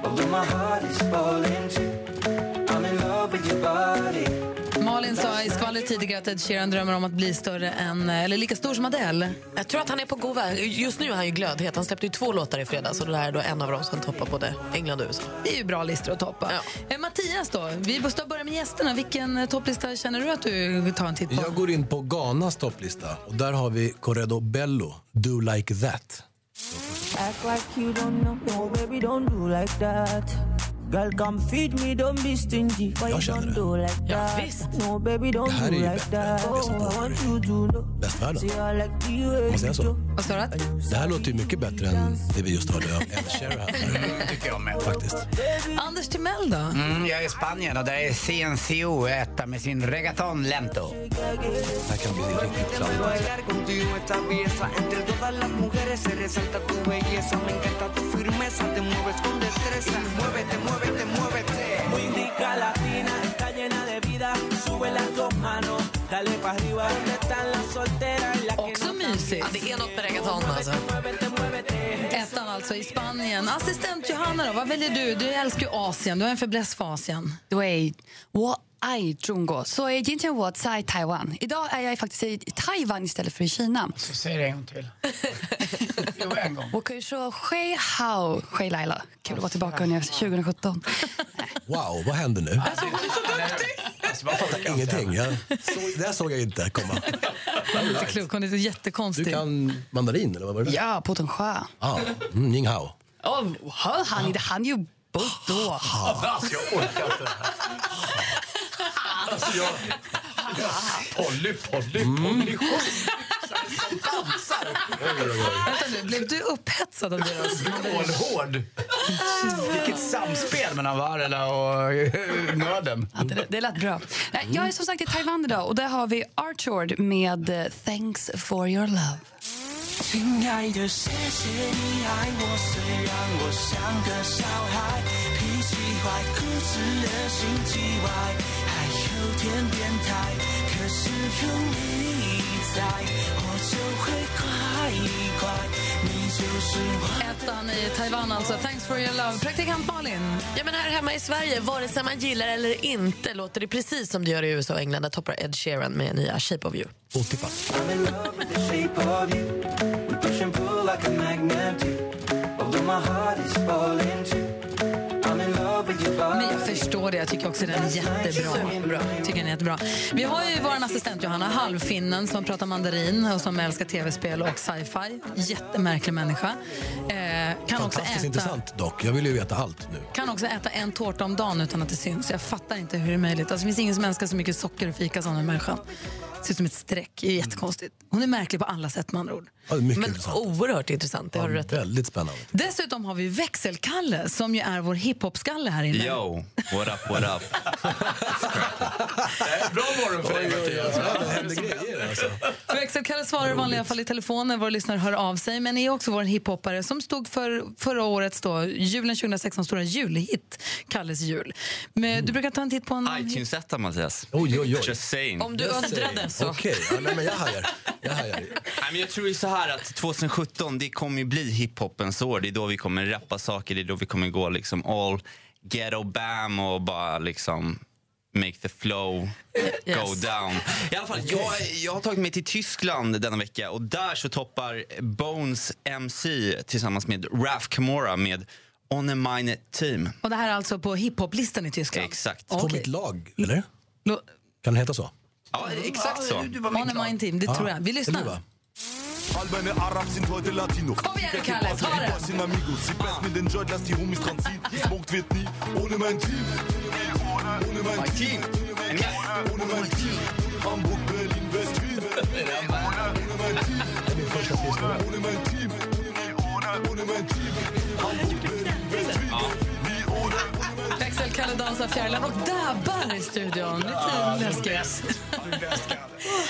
R: Although my heart is falling too. I'm in love with your body.
E: Malin sa i skvallret tidigare att Ed Sheeran drömmer om att bli större än, eh, eller lika stor som Adele.
D: Jag tror att han är på god väg. Just nu är han ju glödhet. Han släppte ju två låtar i fredags och det där är då en av dem som toppar både England och USA.
E: Det är ju bra listor att toppa. Eh, Mattias då, vi måste börja med gästerna. Vilken eh, topplista känner du att du tar en titt på?
O: Jag går in på Ghanas topplista och där har vi Corredo Bello, Do Like That.
R: Act like you don't know. No, baby, don't do like that. Girl, come feed me, don't be stingy. Why you don't do like that? No, baby, don't
O: Det här
R: do
O: är ju
R: like that. Oh, I want you to know.
O: Västvärlden.
R: See, I like the way
O: Får man säga
R: you
O: så?
R: do.
E: Vad sa du? att-
O: Det här låter ju mycket bättre än det vi just hörde av Ed Sheeran.
C: tycker jag med.
O: Faktiskt.
E: Anders Timell då?
C: Mm, jag är i Spanien och där är CNCO etta med sin reggaeton lento.
O: Det här kan bli riktigt kladdigt.
R: Bailar contigo esta pieza. Entre todas las mujeres se resalta tu belleza. Me encanta tu firmeza, te mueves con destreza. Muévete, muévete, muévete. Muy rica latina, está llena de vida. Sube las dos manos, dale para arriba. ¿Dónde están las solteras? Las
E: Också mysigt.
D: Det är något med reggaeton alltså.
E: Ettan alltså i Spanien. Assistent Johanna då, vad väljer du? Du älskar ju Asien, du har en fäbless för Asien.
P: 对，我爱中国，所以今天我在台湾。Idag är jag faktiskt i Taiwan istället för i Kina.
C: Säg det en gång till. jo, en gång.
P: 我可以说“嘿好”，“嘿来了”。Kul att vara tillbaka under 2017.
O: Wow, vad händer nu?
C: Alltså, vad folk-
O: Ingenting. Jag såg, det här såg jag inte komma.
E: Inte klok, hon är så jättekonstig.
O: Du kan mandarin, eller vad var det?
P: Ja, Potensjö.
O: Ah, mm, ning hao.
P: Oh, hör han inte? Han är ju bott då.
C: Alltså, jag orkar inte det här. Alltså, jag... Polly, Polly,
O: Mm.
C: Polly.
E: Vänta nu, blev du upphetsad av deras...
C: Kolhård. Vilket samspel mellan Varela och eh, nöden.
P: Det, det lät bra. Nej, Jag är som sagt i Taiwan idag och där har vi Archord med eh, Thanks for your love.
R: 亲爱的，谢谢你爱我，虽然我像个小孩，脾气坏，固执的心机歪，还有点变态。可是有你在，我就会乖乖。你就是我。
E: Ettan i Taiwan alltså, Thanks for your love. Praktikant Malin.
D: Ja, men här hemma i Sverige, vare sig man gillar eller inte, låter det precis som det gör i USA och England. Där toppar Ed Sheeran med nya Shape of you.
O: Otippat.
R: I'm in love with the shape of you. We push and pull like a magnet do. Although my heart is falling too. I'm in love with your
E: Men
R: body.
E: jag förstår det. Jag tycker också den är jättebra. Tycker den är jättebra. Vi har ju vår assistent Johanna, halvfinnen som pratar mandarin och som älskar tv-spel och sci-fi. Jättemärklig människa. Eh, kan, också
O: Fantastiskt
E: äta,
O: intressant dock. Jag vill ju veta allt nu.
E: kan också äta en tårta om dagen utan att det syns. Jag fattar inte hur det är möjligt. Alltså, det finns ingen som älskar så mycket socker och fika som den här människan. Ser ut som ett streck. Det är jättekonstigt. Hon är märklig på alla sätt med andra ord.
O: Mm. Ja, det är mycket
D: Men
O: intressant.
D: oerhört intressant, det har du
O: Ja,
D: rätt i.
O: väldigt spännande.
E: Dessutom har vi Växelkalle som ju är vår hiphop-skalle här inne.
S: Yo, what up, what up? Bra morgon för dig, Mattias.
E: Växelkalle svarar i vanliga fall i telefonen, vår lyssnare hör av sig, men är också vår hiphoppare som stod för förra årets, då, julen 2016, stora julhit, Kalles jul.
O: Mm.
E: Men, du brukar ta en titt på en...
S: iTunes-etta, Mattias.
O: Oj, oj, oj.
S: Just saying.
D: Om du undrade så.
O: Okej, ja, nej, men jag hajar. Jag hajar.
S: Nej, men jag tror ju så här att 2017 det kommer ju bli hiphopens år. Det är då vi kommer rappa saker, det är då vi kommer gå liksom all ghetto bam och bara liksom make the flow
D: Eh,
S: go down. I alla fall, jag, jag har tagit mig till Tyskland denna vecka och där så toppar Bones MC tillsammans med Raf Kamora med On a Mine Team.
E: Och det här är alltså på hiphoplistan i Tyskland?
S: Exakt.
E: Okej.
O: På mitt lag, eller?
E: Lo-
O: Kan den heta så?
S: Ja, exakt så.
E: On a mind team, det
O: Ja.
E: tror jag. Vi lyssnar.
O: Eller hur, va?
T: All meine Arabs sind heute Latino.
E: Komm her, Kalle,
T: Was geht,
E: Kalle.
T: was in Amigos. Sie beißt mir den Joint, lass die Homies dran ziehen. Smoked wird nie ohne mein Team. Ohne mein Team. Ohne mein Team. Hamburg, Berlin, West-Wien. Ohne mein Team. Ohne mein Team. Ohne mein Team. Hamburg, Berlin, West-Wien. Nie ohne.
E: Växelkalle dansar fjärilar och dabbar i studion. Lite läskigt.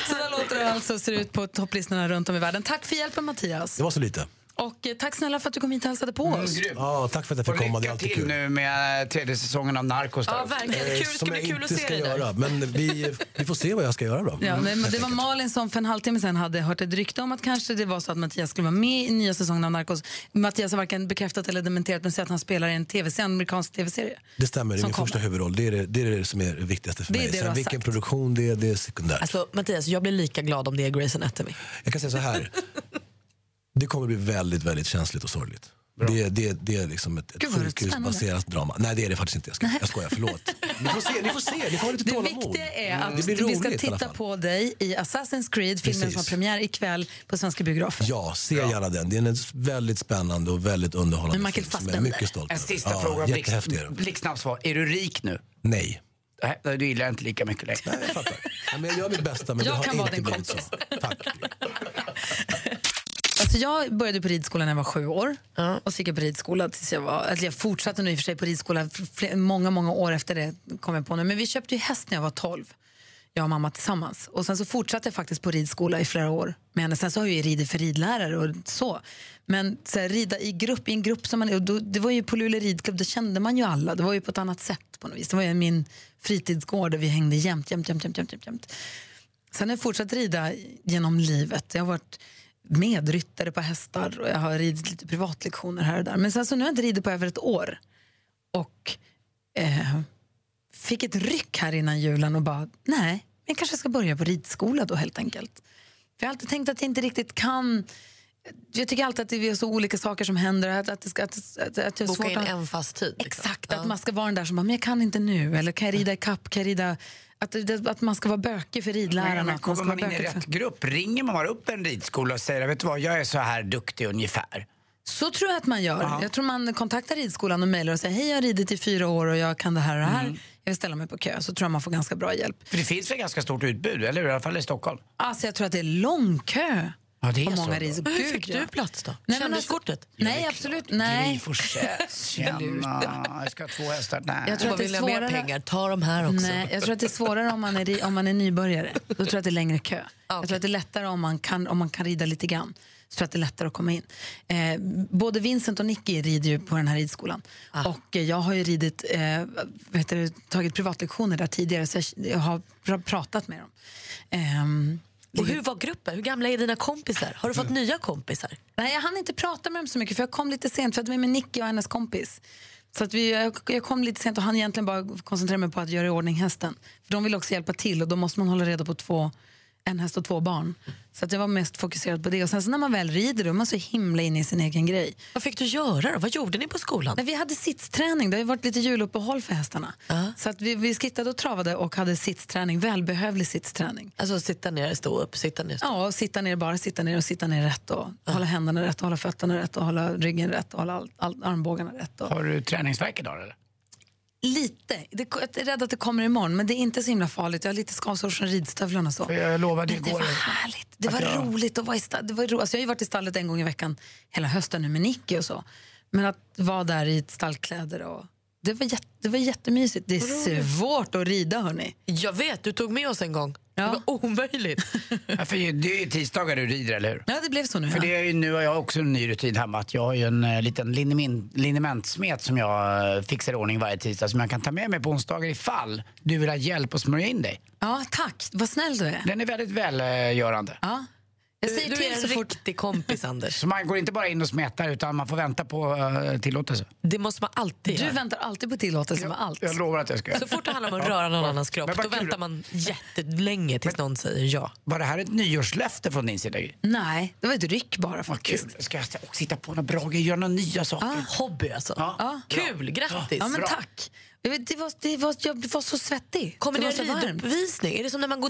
E: Så där låter det alltså, ser ut på topplistorna runt om i världen. Tack för hjälpen, Mattias.
O: Det var så lite.
D: Och eh, tack snälla för att du kom hit och hälsade på
O: Mm.
D: oss.
O: Ja, tack för att jag fick komma. Det är alltid Eh,
C: till nu med eh, tredje säsongen av Narcos.
D: Ja, verkligen. Kul. Det ska
O: som
D: bli
O: jag
D: kul
O: inte
D: att se
O: ska
D: dig där.
O: göra. Men vi, vi får se vad jag ska göra då.
E: Ja, men det var Malin som för en halvtimme sedan hade hört ett rykte om att kanske det var så att Mattias skulle vara med i nya säsongen av Narcos. Mattias har varken bekräftat eller dementerat men säger att han spelar i en tv en amerikansk tv-serie.
O: Det stämmer, det är
E: Som
O: min första huvudroll. Det är det, det är det som är det viktigaste för
E: Det är
O: mig.
E: det du har
O: Sen vilken produktion, det är, det är sekundärt.
D: Alltså, Mattias, jag blir lika glad om det är Grey's Anatomy.
O: Jag kan säga så här. Det kommer bli väldigt, väldigt känsligt och sorgligt. Det, det, det är liksom ett,
E: Gud,
O: ett
E: vad det är
O: sjukhusbaserat drama. Nej, det är det faktiskt inte. Jag, ska, jag skojar, förlåt. Ni får se, ni får se. Ni får ha lite
E: Det
O: tålamod.
E: viktiga är
O: Mm.
E: att
O: Det blir
E: vi ska
O: roligt i alla
E: titta
O: fall.
E: på dig i Assassin's Creed, filmen
O: Precis.
E: som har premiär ikväll på svenska biografer.
O: Ja, se gärna den. Det är en väldigt spännande och väldigt underhållande
E: Med Michael
O: film som jag är
E: Fassbender.
O: mycket stolt
C: En
O: över.
C: sista
O: Ja,
C: fråga, blixt-
O: Jättehäftig är den.
C: blixtsnabbt svar. Är du rik nu?
O: Nej.
C: Nej, Du gillar jag inte lika mycket längre. Nej,
O: jag fattar. Ja, men jag gör mitt bästa, men det har inte blivit så.
E: Alltså jag började på ridskolan när jag var sju år. Och så gick jag på ridskola tills jag var... Alltså jag fortsatte nu i och för sig på ridskola fler, många, många år efter det. kom jag på nu. Men vi köpte ju häst när jag var tolv. Jag och mamma tillsammans. Och sen så fortsatte jag faktiskt på ridskola i flera år med henne. Sen så har jag ju ridit för ridlärare och så. Men så här, rida i grupp, i en grupp som man... Och då, det var ju på Luleå ridklubb, då kände man ju alla. Det var ju på ett annat sätt på något vis. Det var ju min fritidsgård där vi hängde jämt, jämt, jämt, jämt, jämt, jämt. jämt. Sen har jag fortsatt rida genom livet. Jag har varit medryttare på hästar och jag har ridit lite privatlektioner här och där. Men sen så nu har jag inte ridit på över ett år. Och eh, fick ett ryck här innan julen och bara, nej, men jag kanske ska börja på ridskola då helt enkelt. För jag har alltid tänkt att jag inte riktigt kan jag tycker alltid att det är så olika saker som händer. Att, att, det ska- att, att, att jag har
D: Boka
E: svårt
D: in
E: att...
D: en fast tid.
C: liksom.
R: liksom.
E: Exakt, att man ska vara den där som bara, men jag kan inte nu. Eller kan jag rida i kapp? Kan jag rida... Att, det- att man ska vara bökig för ridlärarna.
C: Men, men,
E: att
C: kommer
E: man ska vara
C: man in i
E: bökig för...
C: rätt grupp? Ringer man bara upp en ridskola och säger vet du vad, jag är så här duktig ungefär?
E: Så tror jag att man gör.
C: Ja.
E: Jag tror man kontaktar ridskolan och mejlar och säger hej jag har ridit i fyra år och jag kan det här och det här.
C: Mm.
E: Jag vill ställa mig på kö. Så tror jag man får ganska bra hjälp.
C: För det finns väl ganska stort utbud, eller hur? I alla fall i Stockholm.
E: Alltså jag tror att det är lång kö.
C: Ja, det är
E: på
C: så
E: många
C: då.
E: ridskor.
C: Hur
E: Gud,
C: fick
E: ja.
C: du
D: plats då?
E: Nej, men alltså,
D: Kändiskortet?
E: Nej, absolut. Nej.
C: Tjena, jag ska ha två hästar. Nej.
E: Jag tror att det är svårare.
D: ta de här
E: Nej, jag tror att det är svårare om man är, ri- om man är nybörjare. Då tror jag att det är längre kö. Jag tror att det är lättare om man kan, om man kan rida lite grann. Så tror jag att det är lättare att komma in. Eh, både Vincent och Nicky rider ju på den här ridskolan. Och eh, jag har ju ridit, eh, vad heter det, tagit privatlektioner där tidigare så jag, jag har pr- pratat med dem. Ehm,
D: Och hur var gruppen? Hur gamla är dina kompisar? Har du fått
C: Mm.
D: nya kompisar?
E: Nej, jag hann inte prata med dem så mycket för jag kom lite sent för jag var med Nicky och hennes kompis. Så att vi, jag, jag kom lite sent och han egentligen bara koncentrera mig på att göra i ordning hästen. För de vill också hjälpa till och då måste man hålla reda på två, en häst och två barn. Så att jag var mest fokuserad på det. Och sen så när man väl rider då är man så himla inne i sin egen grej.
D: Vad fick du göra då? Vad gjorde ni på skolan?
E: Nej, vi hade sittsträning, det har ju varit lite juluppehåll för hästarna. Så att vi, vi skittade och travade och hade sittsträning, välbehövlig sittsträning.
D: Alltså sitta ner, stå upp, sitta ner. Stå.
E: Ja, och sitta ner, bara sitta ner och sitta ner rätt och hålla händerna rätt, och hålla fötterna rätt och hålla ryggen rätt och hålla all, all, armbågarna rätt. Och.
C: Har du träningsvärk idag eller?
E: Lite. Det, jag är rädd att det kommer imorgon, men det är inte så himla farligt. Jag har lite skavsår från ridstövlarna och så.
C: Jag lovade
E: men det
C: igår
E: var härligt. Det
C: att
E: var
C: jag-
E: roligt att vara i stallet. Det var ro... alltså, jag har ju varit i stallet en gång i veckan hela hösten nu med Nicky och så. Men att vara där i stallkläder och... Det var, jätte, det var jättemysigt. Det är svårt att rida, hörni.
D: Jag vet, du tog med oss en gång. Det var omöjligt.
C: Ja, för det är ju tisdagar du rider, eller hur?
E: Ja, det blev så nu.
C: För det är ju, nu har jag också en ny rutin hemma. Att jag har ju en eh, liten linemin, linementsmet som jag eh, fixar i ordning varje tisdag som jag kan ta med mig på onsdagar ifall du vill ha hjälp att smörja in dig.
E: Ja, tack. Vad snäll du är.
C: Den är väldigt välgörande.
E: Ja. Jag säger
D: du
E: till
D: är en
E: så fort.
D: riktig kompis, Anders.
C: Så man går inte bara in och smetar utan man får vänta på eh, tillåtelse.
D: Det måste man alltid
E: Du
D: göra.
E: väntar alltid på tillåtelse med allt.
C: Jag lovar att jag ska göra
D: Så fort det handlar om att röra någon annans kropp,
C: Men vad
D: då
C: kul.
D: väntar man jättelänge tills någon säger ja.
C: Var det här ett nyårslöfte från din sida? Gry?
E: Nej, det var ett ryck bara
C: Vad kul. Ska jag också hitta på några bra grejer, göra några nya saker?
D: Hobby alltså.
C: Ja.
D: Kul, grattis.
E: Ah. Ja, men
D: Bra.
E: tack. Jag vet, Det var, det var, jag var så svettig.
D: Kommer
E: det
D: det
E: var så
D: en
E: varmt.
D: riduppvisning? Är det som när man går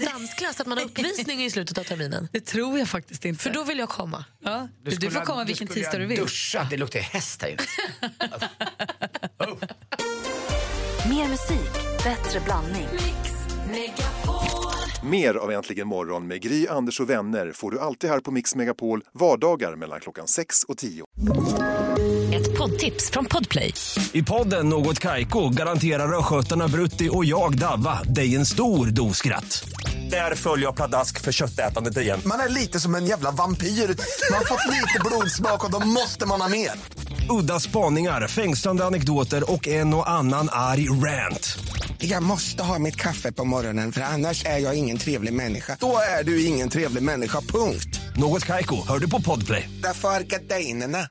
D: dansklass, att man har uppvisning i slutet av terminen?
E: Det tror jag faktiskt inte.
D: För då vill jag komma.
E: Ja, du, du får
C: skulle-
E: komma vilken
C: skulle
E: tisdag
C: ha
E: du vill.
C: Duschat. Det luktar häst här inne.
U: Mer musik, bättre blandning.
H: Mer av Äntligen morgon med Gry, Anders och vänner får du alltid här på Mix Megapol vardagar mellan klockan 6 och 10.
E: Ett poddtips från Podplay.
V: I podden Något Kaiko garanterar östgötarna Brutti och jag, Davva, dig en stor dos skratt. Där följer jag pladask för köttätandet igen.
R: Man är lite som en jävla vampyr. Man har fått lite blodsmak och då måste man ha mer.
V: Udda spaningar, fängslande anekdoter och en och annan arg rant.
R: Jag måste ha mitt kaffe på morgonen för annars är jag ingen trevlig människa. Då är du ingen trevlig människa, punkt.
V: Något Kaiko, hör du på Podplay.
R: Därför arkadeinerna.